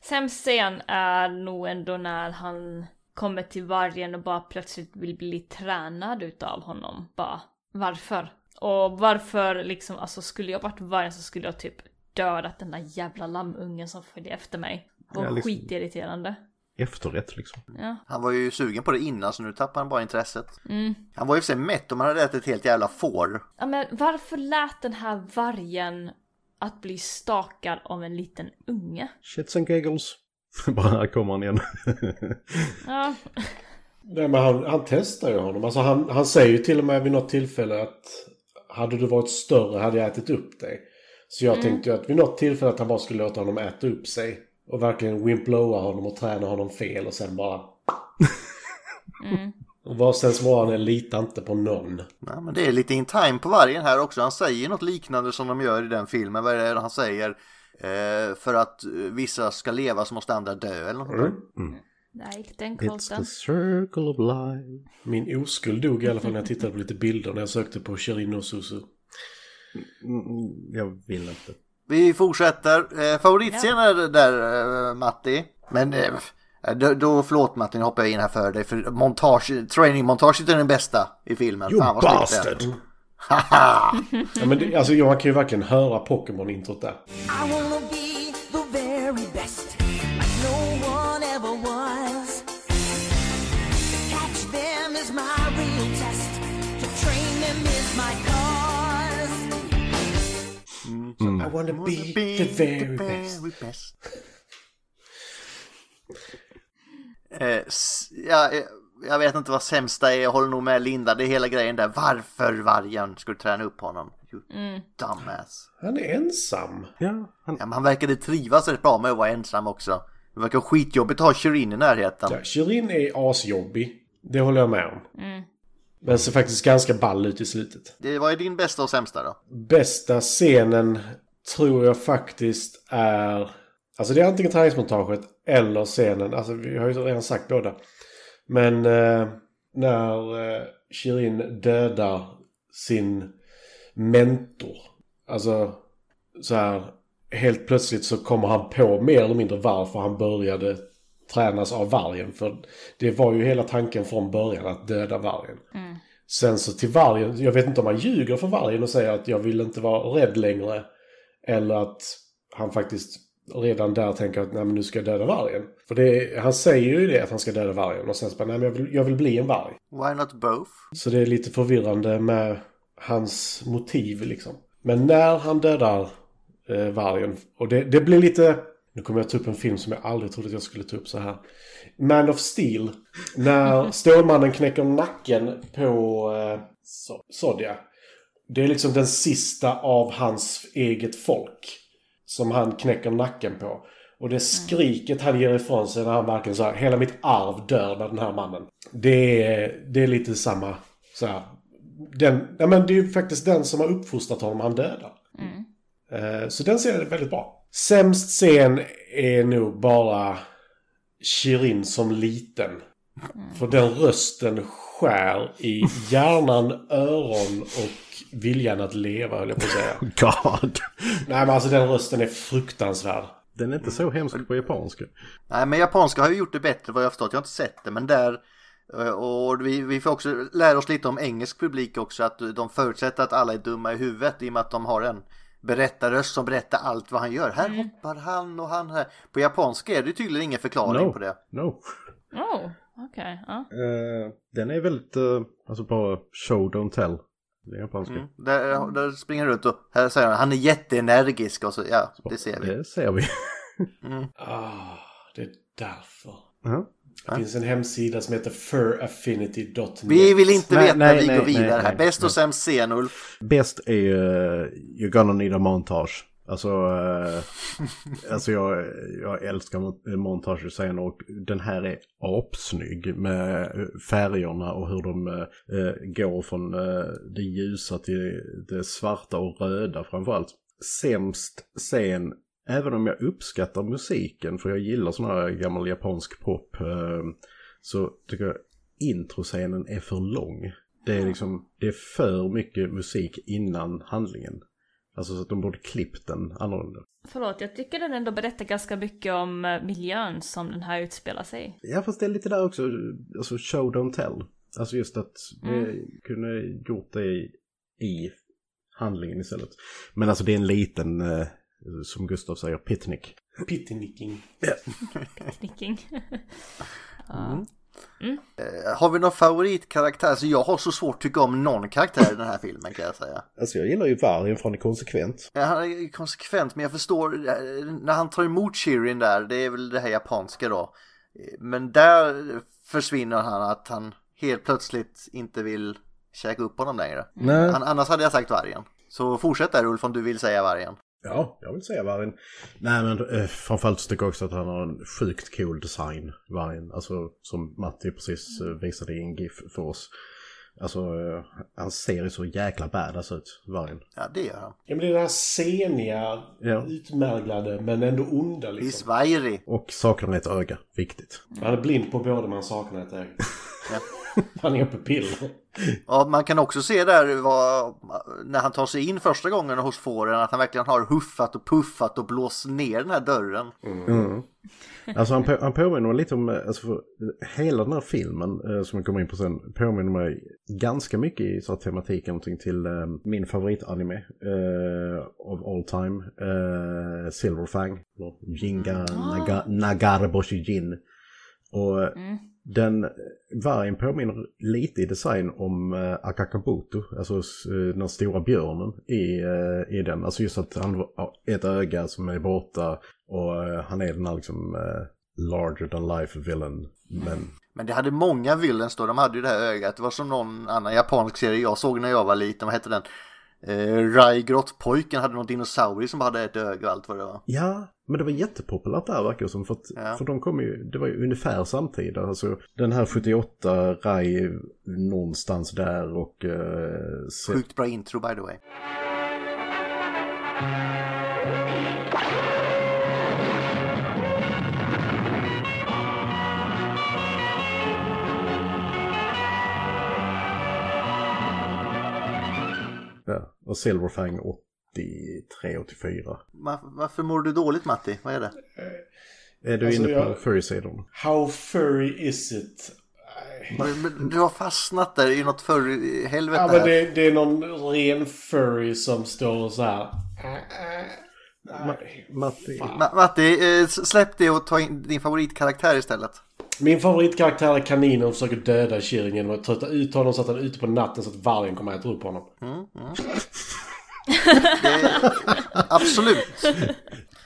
Sämst scen är nog ändå när han kommer till vargen och bara plötsligt vill bli tränad utav honom. Bara, varför? Och varför liksom, alltså skulle jag varit vargen så skulle jag typ dödat den där jävla lammungen som följde efter mig. Det var Ja, liksom- skitirriterande. Efterrätt liksom. Ja. Han var ju sugen på det innan så nu tappar han bara intresset. Han var ju för sig mätt om han hade ätit ett helt jävla får. ja men varför lät den här vargen att bli stakad av en liten unge? Shits and giggles. bara här kommer han igen. Ja, Nej, men han, han testar ju honom. Alltså han, han säger ju till och med vid något tillfälle att hade du varit större hade jag ätit upp dig. Så jag tänkte ju att vid något tillfälle att han bara skulle låta honom äta upp sig. Och verkligen wimplowa honom och träna honom fel och sen bara... Och vad sen svarar han är lita inte på någon. Nej, men det är lite in time på vargen här också. Han säger något liknande som de gör i den filmen. Vad är det han säger? Eh, för att eh, vissa ska leva så måste andra dö eller något. Mm. nej, inte den It's kolten. the circle of life. Min oskuld dog i alla fall när jag tittade på lite bilder när jag sökte på Shirin och Suzu. Mm, jag vill inte. Vi fortsätter. Eh, favoritscen är det där eh, Matti. Men eh, då, då, förlåt Matti, nu hoppar jag in här för dig. För montage, trainingmontaget är den bästa i filmen. You Fan, vad snyggt det är. bastard! Haha! Ja, men det, alltså, ja, man kan ju verkligen höra Pokémon-introt där. I wanna be the very best, like no one ever was. To catch them is my real test, to train them is my cause. I wanna be, the very best. best. Eh, s- ja, eh, jag vet inte vad sämsta är, jag håller nog med Linda. Det är hela grejen där. Varför vargen skulle träna upp honom? You dumbass. Han är ensam. Ja, han, Ja, men han verkade trivas rätt bra med att vara ensam också. Det verkar skitjobbigt att ha Shirin i närheten. Ja, Shirin är asjobbig. Det håller jag med om. Men ser faktiskt ganska ball ut i slutet. Det var ju din bästa och sämsta då. Bästa scenen tror jag faktiskt är... Alltså det är antingen träningsmontaget eller scenen. Alltså vi har ju redan sagt båda. Men eh, när eh, Shirin dödar sin mentor. Alltså så här. Helt plötsligt så kommer han på mer eller mindre varför han började tränas av vargen. För det var ju hela tanken från början att döda vargen. Sen så till vargen, jag vet inte om han ljuger för vargen och säger att jag vill inte vara rädd längre. Eller att han faktiskt redan där tänker att nej men nu ska jag döda vargen. För det, han säger ju det att han ska döda vargen och sen så bara nej men jag vill, jag vill bli en varg. Why not both? Så det är lite förvirrande med hans motiv liksom. Men när han dödar eh, vargen, och det, det blir lite... Nu kommer jag ta upp en film som jag aldrig trodde att jag skulle ta upp så här. Man of Steel. När Stålmannen knäcker nacken på eh, so- Zodiac. Det är liksom den sista av hans eget folk. Som han knäcker nacken på. Och det skriket han ger ifrån sig när han verkligen så här, hela mitt arv dör med den här mannen. Det är, det är lite samma, så här, den, ja, men det är ju faktiskt den som har uppfostrat honom han dödar. Eh, Så den serien är väldigt bra. Sämst scen är nog bara Shirin som liten. För den rösten skär i hjärnan, öron och viljan att leva, höll jag på att säga. God! Nej, men alltså den rösten är fruktansvärd. Den är inte så hemsk på japanska. Nej, men japanska har ju gjort det bättre vad jag har förstått. Jag har inte sett det, men där... eh, Och vi, vi får också lära oss lite om engelsk publik också, att de förutsätter att alla är dumma i huvudet i och med att de har en berättarröst som berättar allt vad han gör. Här hoppar han och han här. På japanska är det tydligen ingen förklaring No. på det. No. Oh, okej. ja. Eh, den är väldigt, eh, alltså bara show don't tell. Det är japanska. Mm. Där, där springer han runt och här säger han, han är jätteenergisk och så, ja, det ser vi. Det ser vi. Ah, det är därför. Ja. Det finns en hemsida som heter furaffinity.net. Vi vill inte Nej, veta, nej, vi nej, går vidare nej, här. nej, Bäst och nej. sämst scen, Ulf. Bäst är ju eh, You're gonna need a montage. Alltså, eh, alltså jag, jag älskar mon- montage och scener och den här är apsnygg med färgerna och hur de eh, eh, går från eh, det ljusa till det svarta och röda framförallt. Sämst scen, även om jag uppskattar musiken för jag gillar sån här gammal japansk pop, eh, så tycker jag introscenen är för lång. Det är liksom, det är för mycket musik innan handlingen. Alltså så att de borde klippt den annorlunda. Förlåt, jag tycker den ändå berättar ganska mycket om eh, miljön som den här utspelar sig i. Ja fast det är lite där också, alltså show don't tell. Alltså just att vi kunde gjort det i, i handlingen istället. Men alltså det är en liten, eh, som Gustav säger, pittnick. Pittinicking. Knicking. Mm. Eh, Har vi någon favoritkaraktär? Så jag har så svårt att tycka om någon karaktär i den här filmen kan jag säga. Alltså jag gillar ju vargen för han är konsekvent. Ja, han är ju konsekvent, men jag förstår eh, när han tar emot Shirin där, det är väl det här japanska då. Eh, Men där försvinner han att han helt plötsligt inte vill käka upp honom längre. Nej. Han, annars hade jag sagt vargen. Så fortsätt där Ulf om du vill säga vargen. Ja, jag vill säga vargen. Nej men eh, framförallt så tycker jag också att han har en sjukt cool design, vargen. Alltså som Matti precis eh, visade i en GIF för oss. Alltså eh, han ser ju så jäkla badass ut, vargen. Ja, det gör han. Ja, men det är den här seniga, Ja. utmärglade, men ändå onda Det är liksom. svajrig. Och saknar ett öga, viktigt. Han är blind på båda, men han saknar ett öga. Han är på piller. Ja, man kan också se där vad, när han tar sig in första gången hos fåren att han verkligen har huffat och puffat och blåst ner den här dörren. Alltså han, på, han påminner mig lite om, eh, alltså för, eh, hela den här filmen eh, som jag kommer in på sen påminner mig ganska mycket i så här, tematik någonting till eh, min favoritanime eh, of all time, eh, Silverfang, eller Jinga Naga, Nagarboshi Jin. Och eh, den vargen påminner lite i design om eh, Akakabuto, alltså s- eh, den stora björnen i, eh, i den. Alltså just att han har ett öga som är borta och eh, han är den här liksom eh, larger than life villain. Men Men det hade många villains då, de hade ju det här ögat. Det var som någon annan japansk serie jag såg när jag var liten, vad hette den? Eh, Raigrot-pojken hade någon dinosaurie som hade ett öga och allt vad det var. ja, men det var jättepopulärt där verkar det som. För, att, Ja. för de kom ju, det var ju ungefär samtidigt. Alltså den här 78, Rai någonstans där och... Eh, se- Sjukt bra intro by the way. ja, och Silverfang 83, 84. Ma- varför mår du dåligt Matti? Vad är det? Är du Alltså, inne på jag- furry-sidorna? How furry is it? Men- men Du har fastnat där i något förr helvete Ja, men här. det, det är någon ren furry som står och så här. Nej. Matti. Ma- Matti, eh, s- släpp det och ta in din favoritkaraktär istället. Min favoritkaraktär är kaninen och försöker döda Kirin genom att trötta ut honom så att han är ute på natten så att vargen kommer att äta upp honom. Absolut.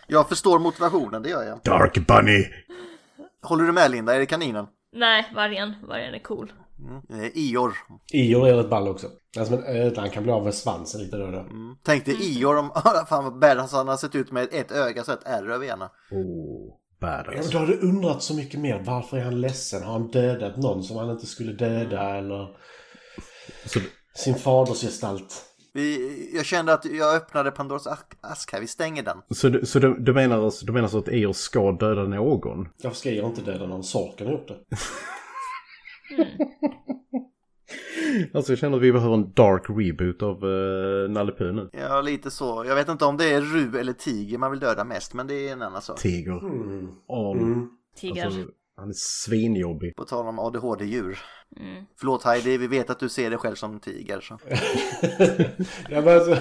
Jag förstår motivationen, det gör jag. Dark Bunny! Håller du med Linda? Är det kaninen? Nej, vargen. Vargen är cool. Mm. Eh, Ior. Ior är rätt ball också. Alltså, men ödlan kan bli av med svansen lite då och då. Tänk dig Ior om... Fan vad badass han har sett ut med ett öga så ett ärr över ena. Oh, Ja, badass. men då har du undrat så mycket mer. Varför är han ledsen? Har han dödat någon som han inte skulle döda? Eller Så, sin faders gestalt? Vi, jag kände att jag öppnade Pandoras ak- ask här, vi stänger den. så, du- så du, du, menar, alltså- du menar så att Eos ska döda någon? Varför ska jag inte döda någon? Sorken har gjort det. Alltså jag känner att vi behöver en dark reboot av uh, Nalle Puh nu. Ja, lite så. Jag vet inte om det är ru eller tiger man vill döda mest, men det är en annan sak. Tiger. Mm. Arn. Tiger. Alltså, han är svinjobbig. På tal om ADHD-djur. Förlåt Heidi, vi vet att du ser dig själv som tiger. Så. Jag bara, alltså,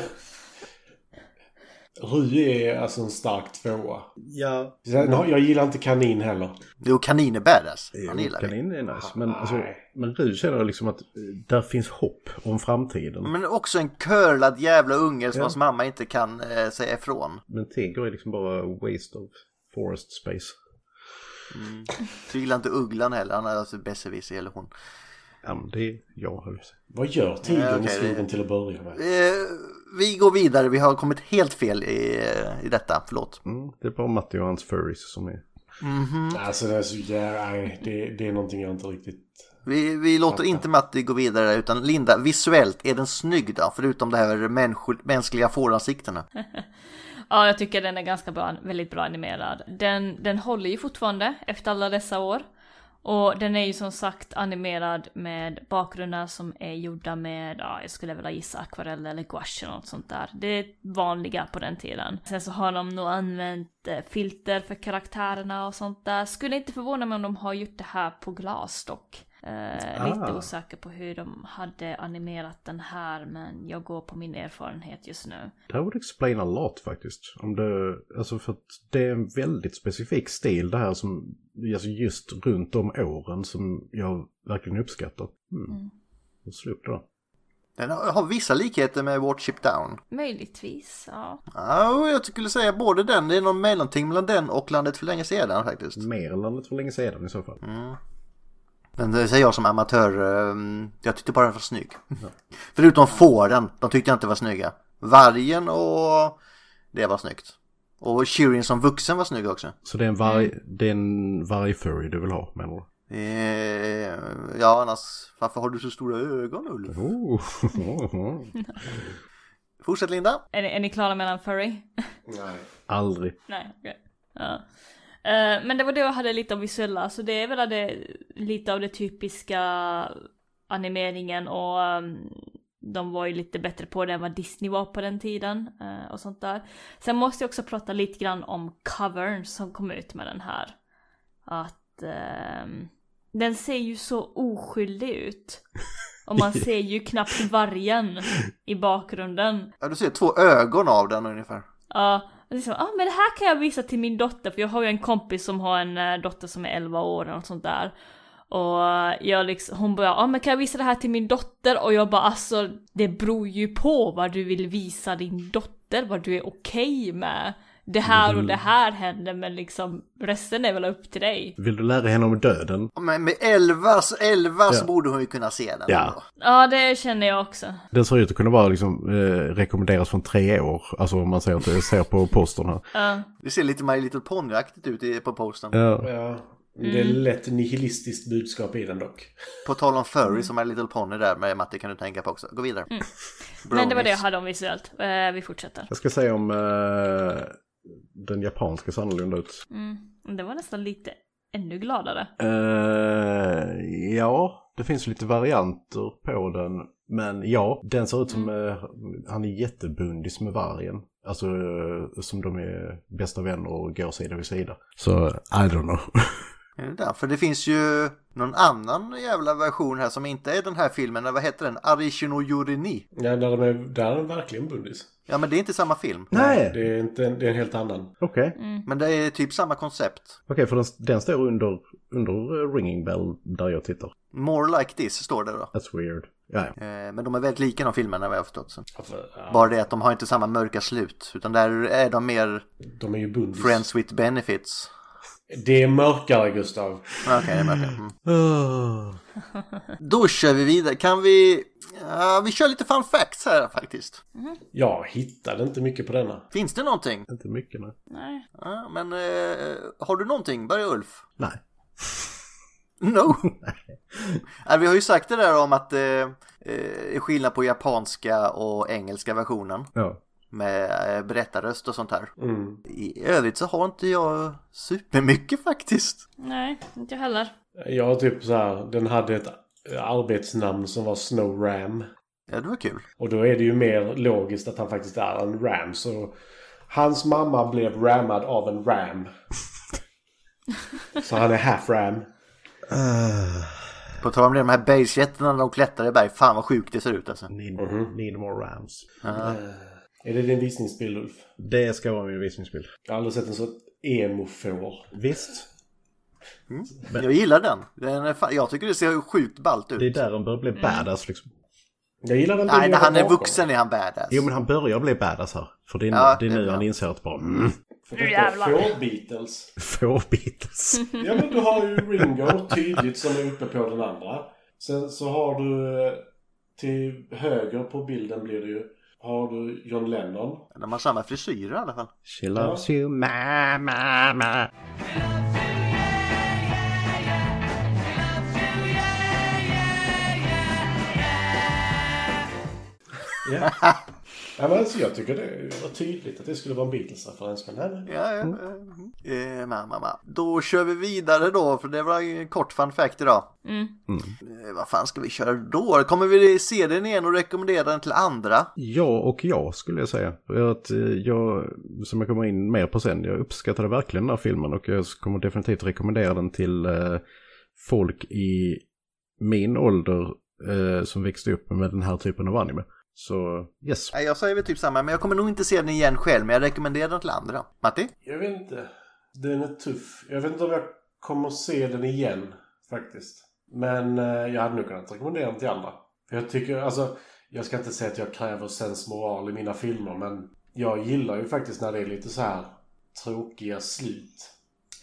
Rui är alltså en stark tvåa. Ja. Sen, har- jag gillar inte kanin heller. Jo, kanin är badass. Han gillar vi. Kanin är nice. Men, alltså, men du känner liksom att eh, där finns hopp om framtiden. Men också en curlad jävla unge som vars mamma inte kan eh, säga ifrån. Men Tiger är liksom bara waste of forest space. Så gillar inte ugglan heller, han är alltså besserwisser eller hon. Ja, men det är jag. höll jag på att säga. Vad gör tigern Ja, okej, i skogen det- till att börja med? Eh, vi går vidare, vi har kommit helt fel i, eh, i detta, förlåt. Mm, det är bara Matti och hans furries som är... Mm. Alltså det är så jävla... nej, Det, det är någonting jag inte riktigt... Vi, vi låter inte Matti gå vidare utan Linda, visuellt, är den snygg då? Förutom det här människo- mänskliga fåransiktena. Ja, jag tycker den är ganska bra, väldigt bra animerad. Den, den håller ju fortfarande efter alla dessa år. Och den är ju som sagt animerad med bakgrunder som är gjorda med, ja, jag skulle vilja gissa akvarell eller gouache eller något sånt där. Det är vanliga på den tiden. Sen så har de nog använt eh, filter för karaktärerna och sånt där. Skulle inte förvåna mig om de har gjort det här på glas dock. Eh, Lite Ah. osäker på hur de hade animerat den här men jag går på min erfarenhet just nu. Det här would explain a lot faktiskt. Om det, alltså för att det är en väldigt specifik stil det här som, alltså just runt de åren som jag verkligen uppskattar. Mm. Jag slog upp det då. Den har, har vissa likheter med Warship Down. Möjligtvis, ja. Ja, och jag skulle säga både den, det är någon mellanting mellan den och Landet för länge sedan faktiskt. Merlandet för länge sedan i så fall. Men det säger jag som amatör, eh, jag tyckte bara den var snygg. Förutom fåren, de tyckte jag inte var snygga. Vargen och det var snyggt. Och Shirin som vuxen var snygg också. Så det är en varg, det är en vargfurry du vill ha menar du? Eh, ja, annars, varför har du så stora ögon Ulf? Oh. Fortsätt Linda. Är ni, är ni klara med en furry? Nej. Aldrig. Nej, okej. Ja. Eh, men det var det jag hade lite om visuella, så det är väl det, lite av det typiska animeringen och ehm, de var ju lite bättre på det än vad Disney var på den tiden eh, och sånt där. Sen måste jag också prata lite grann om covern som kom ut med den här. Att ehm, den ser ju så oskyldig ut. Och man ser ju knappt vargen i bakgrunden. Ja, du ser två ögon av den ungefär. Ja, och liksom, ah, men det här kan jag visa till min dotter för jag har ju en kompis som har en eh, dotter som är 11 år och något sånt där. Och eh, jag liksom, hon bara, ah, men kan jag visa det här till min dotter? Och jag bara, alltså det beror ju på vad du vill visa din dotter, vad du är okej med. Det här och det här händer men liksom resten är väl upp till dig. Vill du lära henne om döden? Ja, Men med Elvas, Elvas Ja. borde hon ju kunna se den. Ja. ändå. Ja det känner jag också. Den ser ut att kunna vara liksom, eh, rekommenderas från tre år. Alltså om man ser, till, ser på postern här. Det ser lite My Little Pony-aktigt ut i- på posten. Ja. Ja. Det är lätt nihilistiskt budskap i den dock. På tal om Mm. furry som My Little Pony där med Matti kan du tänka på också. Gå vidare. Men Mm. det var det jag Brownies. hade om visuellt. Eh, vi fortsätter. Jag ska säga om eh, den japanska ser annorlunda ut. Mm. Det var nästan lite ännu gladare. Eh, ja, det finns lite varianter på den. Men ja, den ser ut som eh, han är jättebundis med vargen. Alltså eh, som de är bästa vänner och går sida vid sida. Så I don't know. Är det där? För det finns ju någon annan jävla version här som inte är den här filmen. Vad heter den? Arishino Yurini. Ja, där, de är, där är de verkligen bundis. Ja, men det är inte samma film. Nej! Det är, inte en, det är en helt annan. Okej, Men det är typ samma koncept. Okej, för den, den står under, under eh, ringing bell där jag tittar. More like this står det då. That's weird. Ja, ja. Eh, Men de är väldigt lika de filmerna vad jag har förstått. Så. Alltså, ja, Bara det att de har inte samma mörka slut. Utan där är de mer De är ju bundis. friends with benefits. Ah, Det är mörkare, Gustav. Okej, det märker jag. Ah. Mm. Då kör vi vidare. Kan vi... Ja, vi kör lite fun facts här faktiskt. Jag hittade inte mycket på denna. Finns det någonting? Inte mycket nu. Nej. Ja, men eh, har du någonting? Börja Ulf. Nej. No. Nej, vi har ju sagt det där om att det eh, eh, är skillnad på japanska och engelska versionen Ja. med eh, berättarröst och sånt här. Mm. I övrigt så har inte jag supermycket faktiskt. Nej, inte jag heller. Jag har typ så här, den hade ett arbetsnamn som var Snow Ram. Ja, det var kul. Och då är det ju mer logiskt att han faktiskt är en ram. Så hans mamma blev rammad av en ram. så han är half ram. På tal om det, de här bergsjättarna när de klättrar i berg, fan vad sjukt det ser ut alltså. Need, need more rams. Är det din visningsbild Ulf? Det ska vara min visningsbild. Jag har aldrig sett en sån emo-får. Visst, Jag gillar den. den är fan, jag tycker det ser sjukt ballt ut. det är där han börjar bli badass liksom. Jag gillar den Nej, bilden när han är bakom. vuxen är han badass. Jo men han börjar bli badass här. För det är, Ja, det är det är nu bra. han inser att bara mm, För detta är Får-Beatles. fårbites. Ja men du har ju Ringo tydligt som är uppe på den andra. Sen så har du eh, till höger på bilden blir det ju. Har du John Lennon. De har samma frisyrer i alla fall. She loves you ma ma ma. Ja. ja men alltså jag tycker det var tydligt att det skulle vara en Beatles-referens. Men nej, nej. Ja, ja. Mm. Eh, ma, ma, ma. Då kör vi vidare då, för det var ju en kort fun fact idag. Eh, vad fan ska vi köra då? Kommer vi se den igen och rekommendera den till andra? Ja och ja skulle jag säga. För Att eh, jag, som jag kommer in mer på sen, jag uppskattade verkligen den här filmen och jag kommer definitivt rekommendera den till eh, folk i min ålder eh, som växte upp med den här typen av anime. Så yes. Nej, jag säger väl typ samma, men jag kommer nog inte se den igen själv, men jag rekommenderar den till andra. Matti? Jag vet inte. Den är tuff. Jag vet inte om jag kommer se den igen faktiskt. Men eh, jag hade nog kunnat rekommendera den till andra. För Jag tycker, alltså, jag ska inte säga att jag kräver sensmoral i mina filmer men jag gillar ju faktiskt när det är lite så här tråkiga slut.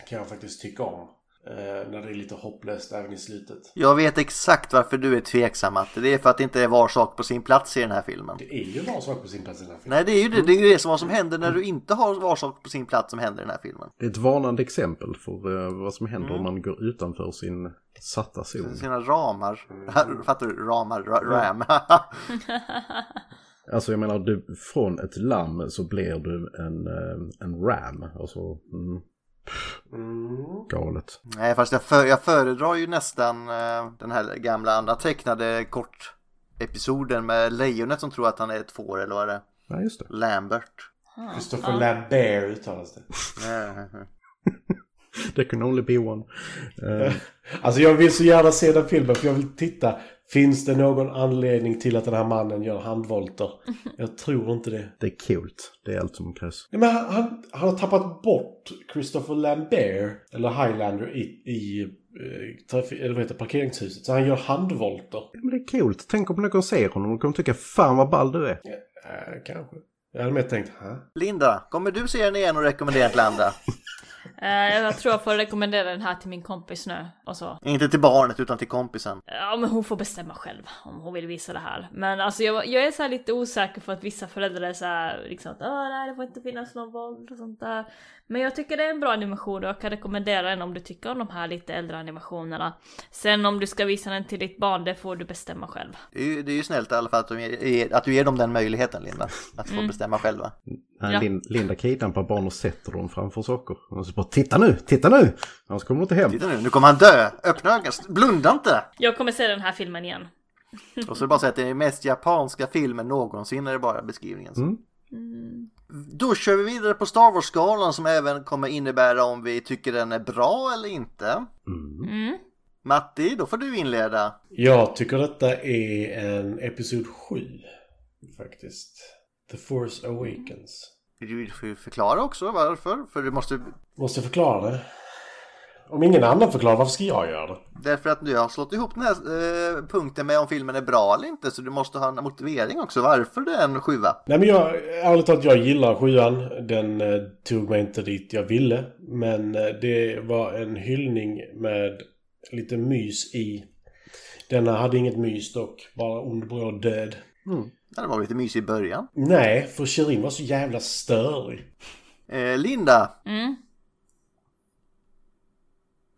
Kan jag faktiskt tycka om. Eh, när det är lite hopplöst även i slutet. Jag vet exakt varför du är tveksam, Matti. Det är för att det inte är var sak på sin plats i den här filmen. Det är ju var sak på sin plats i den här filmen. Nej, det är ju det, det, är ju det som vad som händer när du inte har var sak på sin plats som händer i den här filmen. Det är ett varnande exempel för eh, vad som händer om man går utanför sin satta zon. Sina ramar. Fattar du? Ramar, ra- ram. Alltså jag menar, du, från ett lamm så blir du en, eh, en ram. Alltså, mm, Mm. galet. Nej, fast jag, för, jag föredrar ju nästan eh, den här gamla andra tecknade kort episoden med lejonet som tror att han är ett får eller vad är det? Ja, just det. Lambert. Eh, Christopher Lambert uttalas det. There can only be one. Eh, Alltså jag vill så gärna se den filmen för jag vill titta. Finns det någon anledning till att den här mannen gör handvolter? Jag tror inte det. det är coolt. Det är allt som krävs. Nej, men han, han, han har tappat bort Christopher Lambert, eller Highlander, i, i eh, trafi- eller vad heter, det, parkeringshuset. Så han gör handvolter. Ja, men det är coolt. Tänk om någon ser honom och kommer tycka fan vad ball du är. Eh, kanske. Jag hade mer tänkt, Hä? Linda, kommer du se den igen och rekommendera den till andra? Eh, jag tror jag får rekommendera den här till min kompis nu. Och så. Inte till barnet utan till kompisen. Ja men hon får bestämma själv om hon vill visa det här. Men alltså jag, jag är så här lite osäker för att vissa föräldrar är så här liksom att "Åh, nej det får inte finnas någon våld och sånt där. Men jag tycker det är en bra animation och jag kan rekommendera den om du tycker om de här lite äldre animationerna. Sen om du ska visa den till ditt barn det får du bestämma själv. Det är ju, det är ju snällt i alla fall att du, ger- att du ger dem den möjligheten Linda. Att få bestämma själva. Nej, Ja. Lin- Linda kidnappar barn och sätter dem framför saker. Och så bara titta nu, titta nu! Annars kommer du inte hem. Titta nu, nu kommer han dö! Öppna ögonen, blunda inte! Jag kommer se den här filmen igen. Och så är det bara så att det är den mest japanska filmen någonsin är det bara beskrivningen. Mm. Då kör vi vidare på Star Wars-skalan som även kommer innebära om vi tycker den är bra eller inte. Mm. Matti, då får du inleda. Jag tycker detta är en episod 7, faktiskt. The Force Awakens. Du får ju förklara också varför, för du måste... Måste jag förklara det? Om ingen annan förklarar, varför ska jag göra det? Därför att du har slått ihop den här eh, punkten med om filmen är bra eller inte. Så du måste ha en motivering också varför det är en sjua. Nej men jag, ärligt talat, jag gillar sjuan. Den eh, tog mig inte dit jag ville. Men eh, det var en hyllning med lite mys i. Denna hade inget mys dock, bara ond bråd död. Ja, Det var lite mysig i början. Nej, för Shirin var så jävla störig. Eh, Linda, Mm.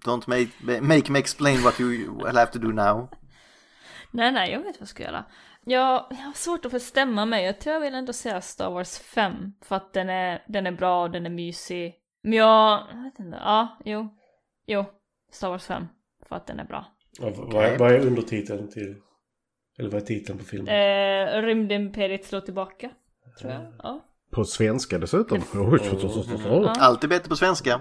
don't make, make me explain what you will have to do now. Nej, nej, jag vet vad jag ska göra. Jag, jag har svårt att bestämma mig. Jag tror jag vill ändå säga Star Wars 5. För att den är, den är bra och den är mysig. Men jag, jag vet inte. Ja, jo. Jo. Star Wars 5. För att den är bra. Ja, Vad är, vad är undertiteln till... Eller vad är titeln på filmen? Eh, Rymdimperiet slår tillbaka. Tror jag. Ja, På svenska dessutom. Alltid bättre på svenska.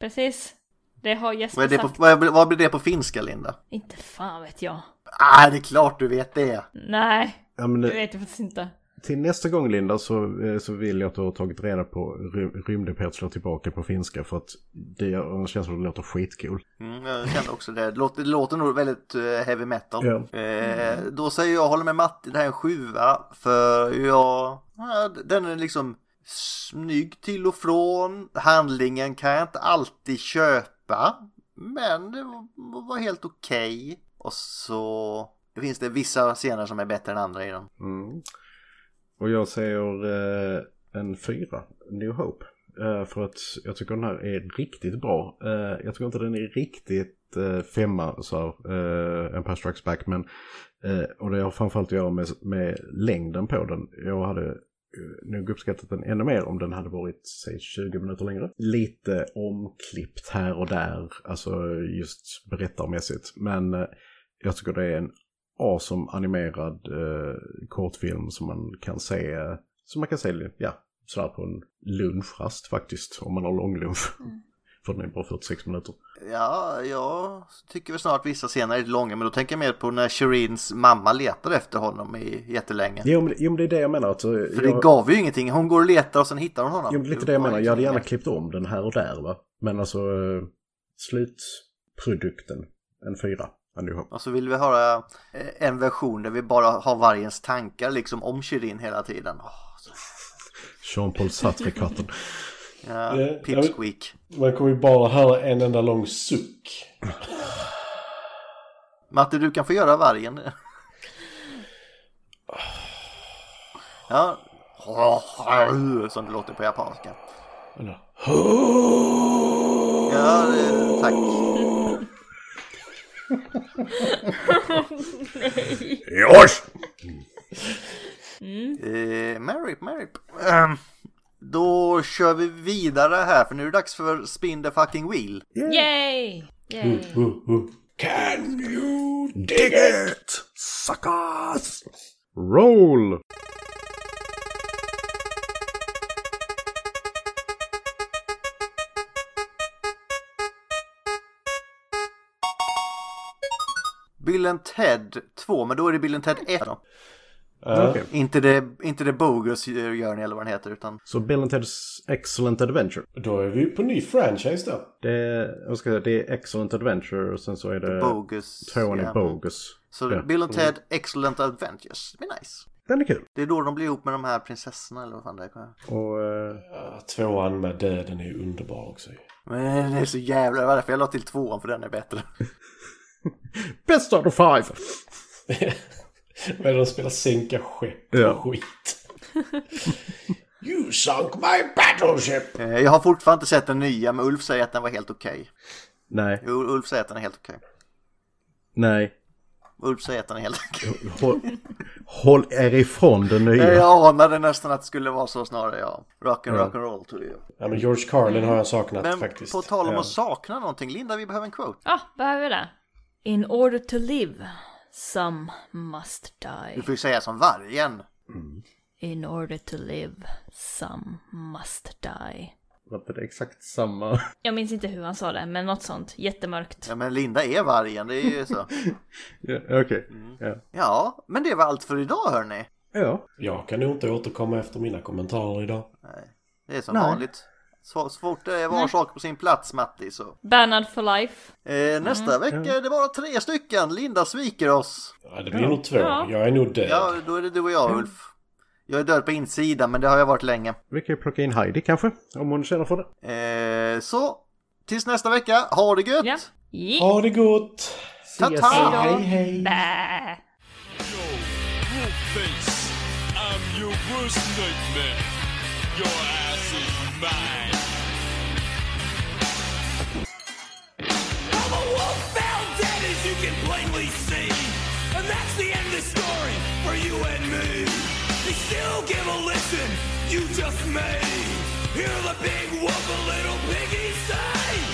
precis. Det har Vad, Jesper är det på, sagt. vad, vad blir det på finska, Linda? Inte fan vet jag. Ah, det är klart du vet det. Nej, Ja, men, det eh, vet jag faktiskt inte. till nästa gång Linda så, eh, så vill jag att du har tagit reda på ry- rymdimperiet slår tillbaka på finska för att det jag har en känsla av att det låter skitcool. Mm, jag kände också det. Det låter, det låter nog väldigt eh, heavy metal. Ja. Eh, Då säger jag, håller med Matti, det här är en sjua. För jag, ja, den är liksom snygg till och från. Handlingen kan jag inte alltid köpa. Men det var, var helt okej. Och så finns det vissa scener som är bättre än andra i den. Mm. Och jag säger eh, en fyra, New Hope. Eh, för att jag tycker den här är riktigt bra. Eh, jag tycker inte den är riktigt eh, femma så här, eh, Empire Strikes Back. Men, eh, och det har framförallt att göra med, med längden på den. Jag hade eh, nog uppskattat den ännu mer om den hade varit säg 20 minuter längre. Lite omklippt här och där, alltså just berättarmässigt. Men eh, jag tycker det är en awesome animerad eh, kortfilm som man kan se, som man kan se ja, sådär på en lunchrast faktiskt, om man har långlunch. För den är bara 46 minuter. Ja, jag tycker väl snart vissa scener är lite långa. Men då tänker jag mer på när Shireens mamma letar efter honom i jättelänge. Jo men, jo, men det är det jag menar. Alltså, För jag, det gav ju ingenting. Hon går och letar och sen hittar hon honom. jo, men lite det jag menar. Jag hade gärna klippt om den här och där va. Men alltså, eh, slutprodukten, en fyra. A New Hope. Och så vill vi höra eh, en version där vi bara har vargens tankar liksom om Shirin hela tiden. Åh, så- Jean-Paul Sartre-kvarten. ja, Eh, pipsqueak. Man kommer ju bara höra en enda lång suck. Matte, du kan få göra vargen. Ja. Som det låter på japanska. Eller? Ja, eh, tack. Josh! Eh, Marip, Marip. Ehm, Då kör vi vidare här för nu är det dags för Spin the fucking wheel. Yay! Yay! Can you Dig it! Suckers! Roll! Bill and Ted 2, men då är det Bill and Ted 1. då. Eh, Okej. Inte det, inte det Bogus gör ni eller vad den heter utan Så Bill and Ted's Excellent Adventure. Då är vi på ny franchise då. Det är, vad ska jag säga, det är Excellent Adventure och sen så är det Bogus. Tony ja. Bogus. Så Ja. Bill and Ted Excellent Adventures. Det är nice. Den är kul. Det är då de blir ihop med de här prinsessorna eller vad fan det är. Och eh, Ja, Tvåan med döden är ju underbar också. ju. Men det är så jävla... Det var därför jag la till tvåan för den är bättre. Best out of five! Men de spelar sänka skepp och Ja. skit. you sunk my battleship! Eh, Jag har fortfarande inte sett den nya men Ulf säger att den var helt okej. Nej, Jo, Ulf säger att den är helt okej. nej. Ulf säger att den är helt okej. Håll, håll er ifrån den Eh, nya. Jag anade nästan att det skulle vara så snarare ja. Rock and rock and roll tror jag. Ja, men George Carlin har jag saknat Men faktiskt. på tal om Ja. att sakna någonting, Linda vi behöver en quote. Ja, behöver vi det? In order to live, some must die. Du får ju säga som vargen. In order to live, some must die. Var inte det exakt samma? Jag minns inte hur han sa det, men något sånt. Jättemörkt. Ja, men Linda är vargen, det är ju så. Ja, Okej. Mm. Ja. Ja, men det var allt för idag hörni. ja. Jag kan nog inte återkomma efter mina kommentarer idag. Det är som Nej. vanligt. Så, så fort det var saker på sin plats Matti så. Bernard for life. Eh, nästa vecka är det bara tre stycken. Linda sviker oss. Ja, det blir nog två. Ja. Jag är nog död. Ja, då är det du och jag Ulf. Jag är död på insidan men det har jag varit länge. Vi kan ju plocka in Heidi kanske, om hon känner för det. Eh, så, tills nästa vecka. Ha det gött! Ja. Yeah. Ha det gott! Ta-ta! Hej hej! Bä. Face. I'm your worst nightmare. Your ass is mine. I'm a wolf found dead, as you can plainly see. And that's the end of the story for you and me. They still give a listen, you just may. Hear the big wolf, a little piggy say.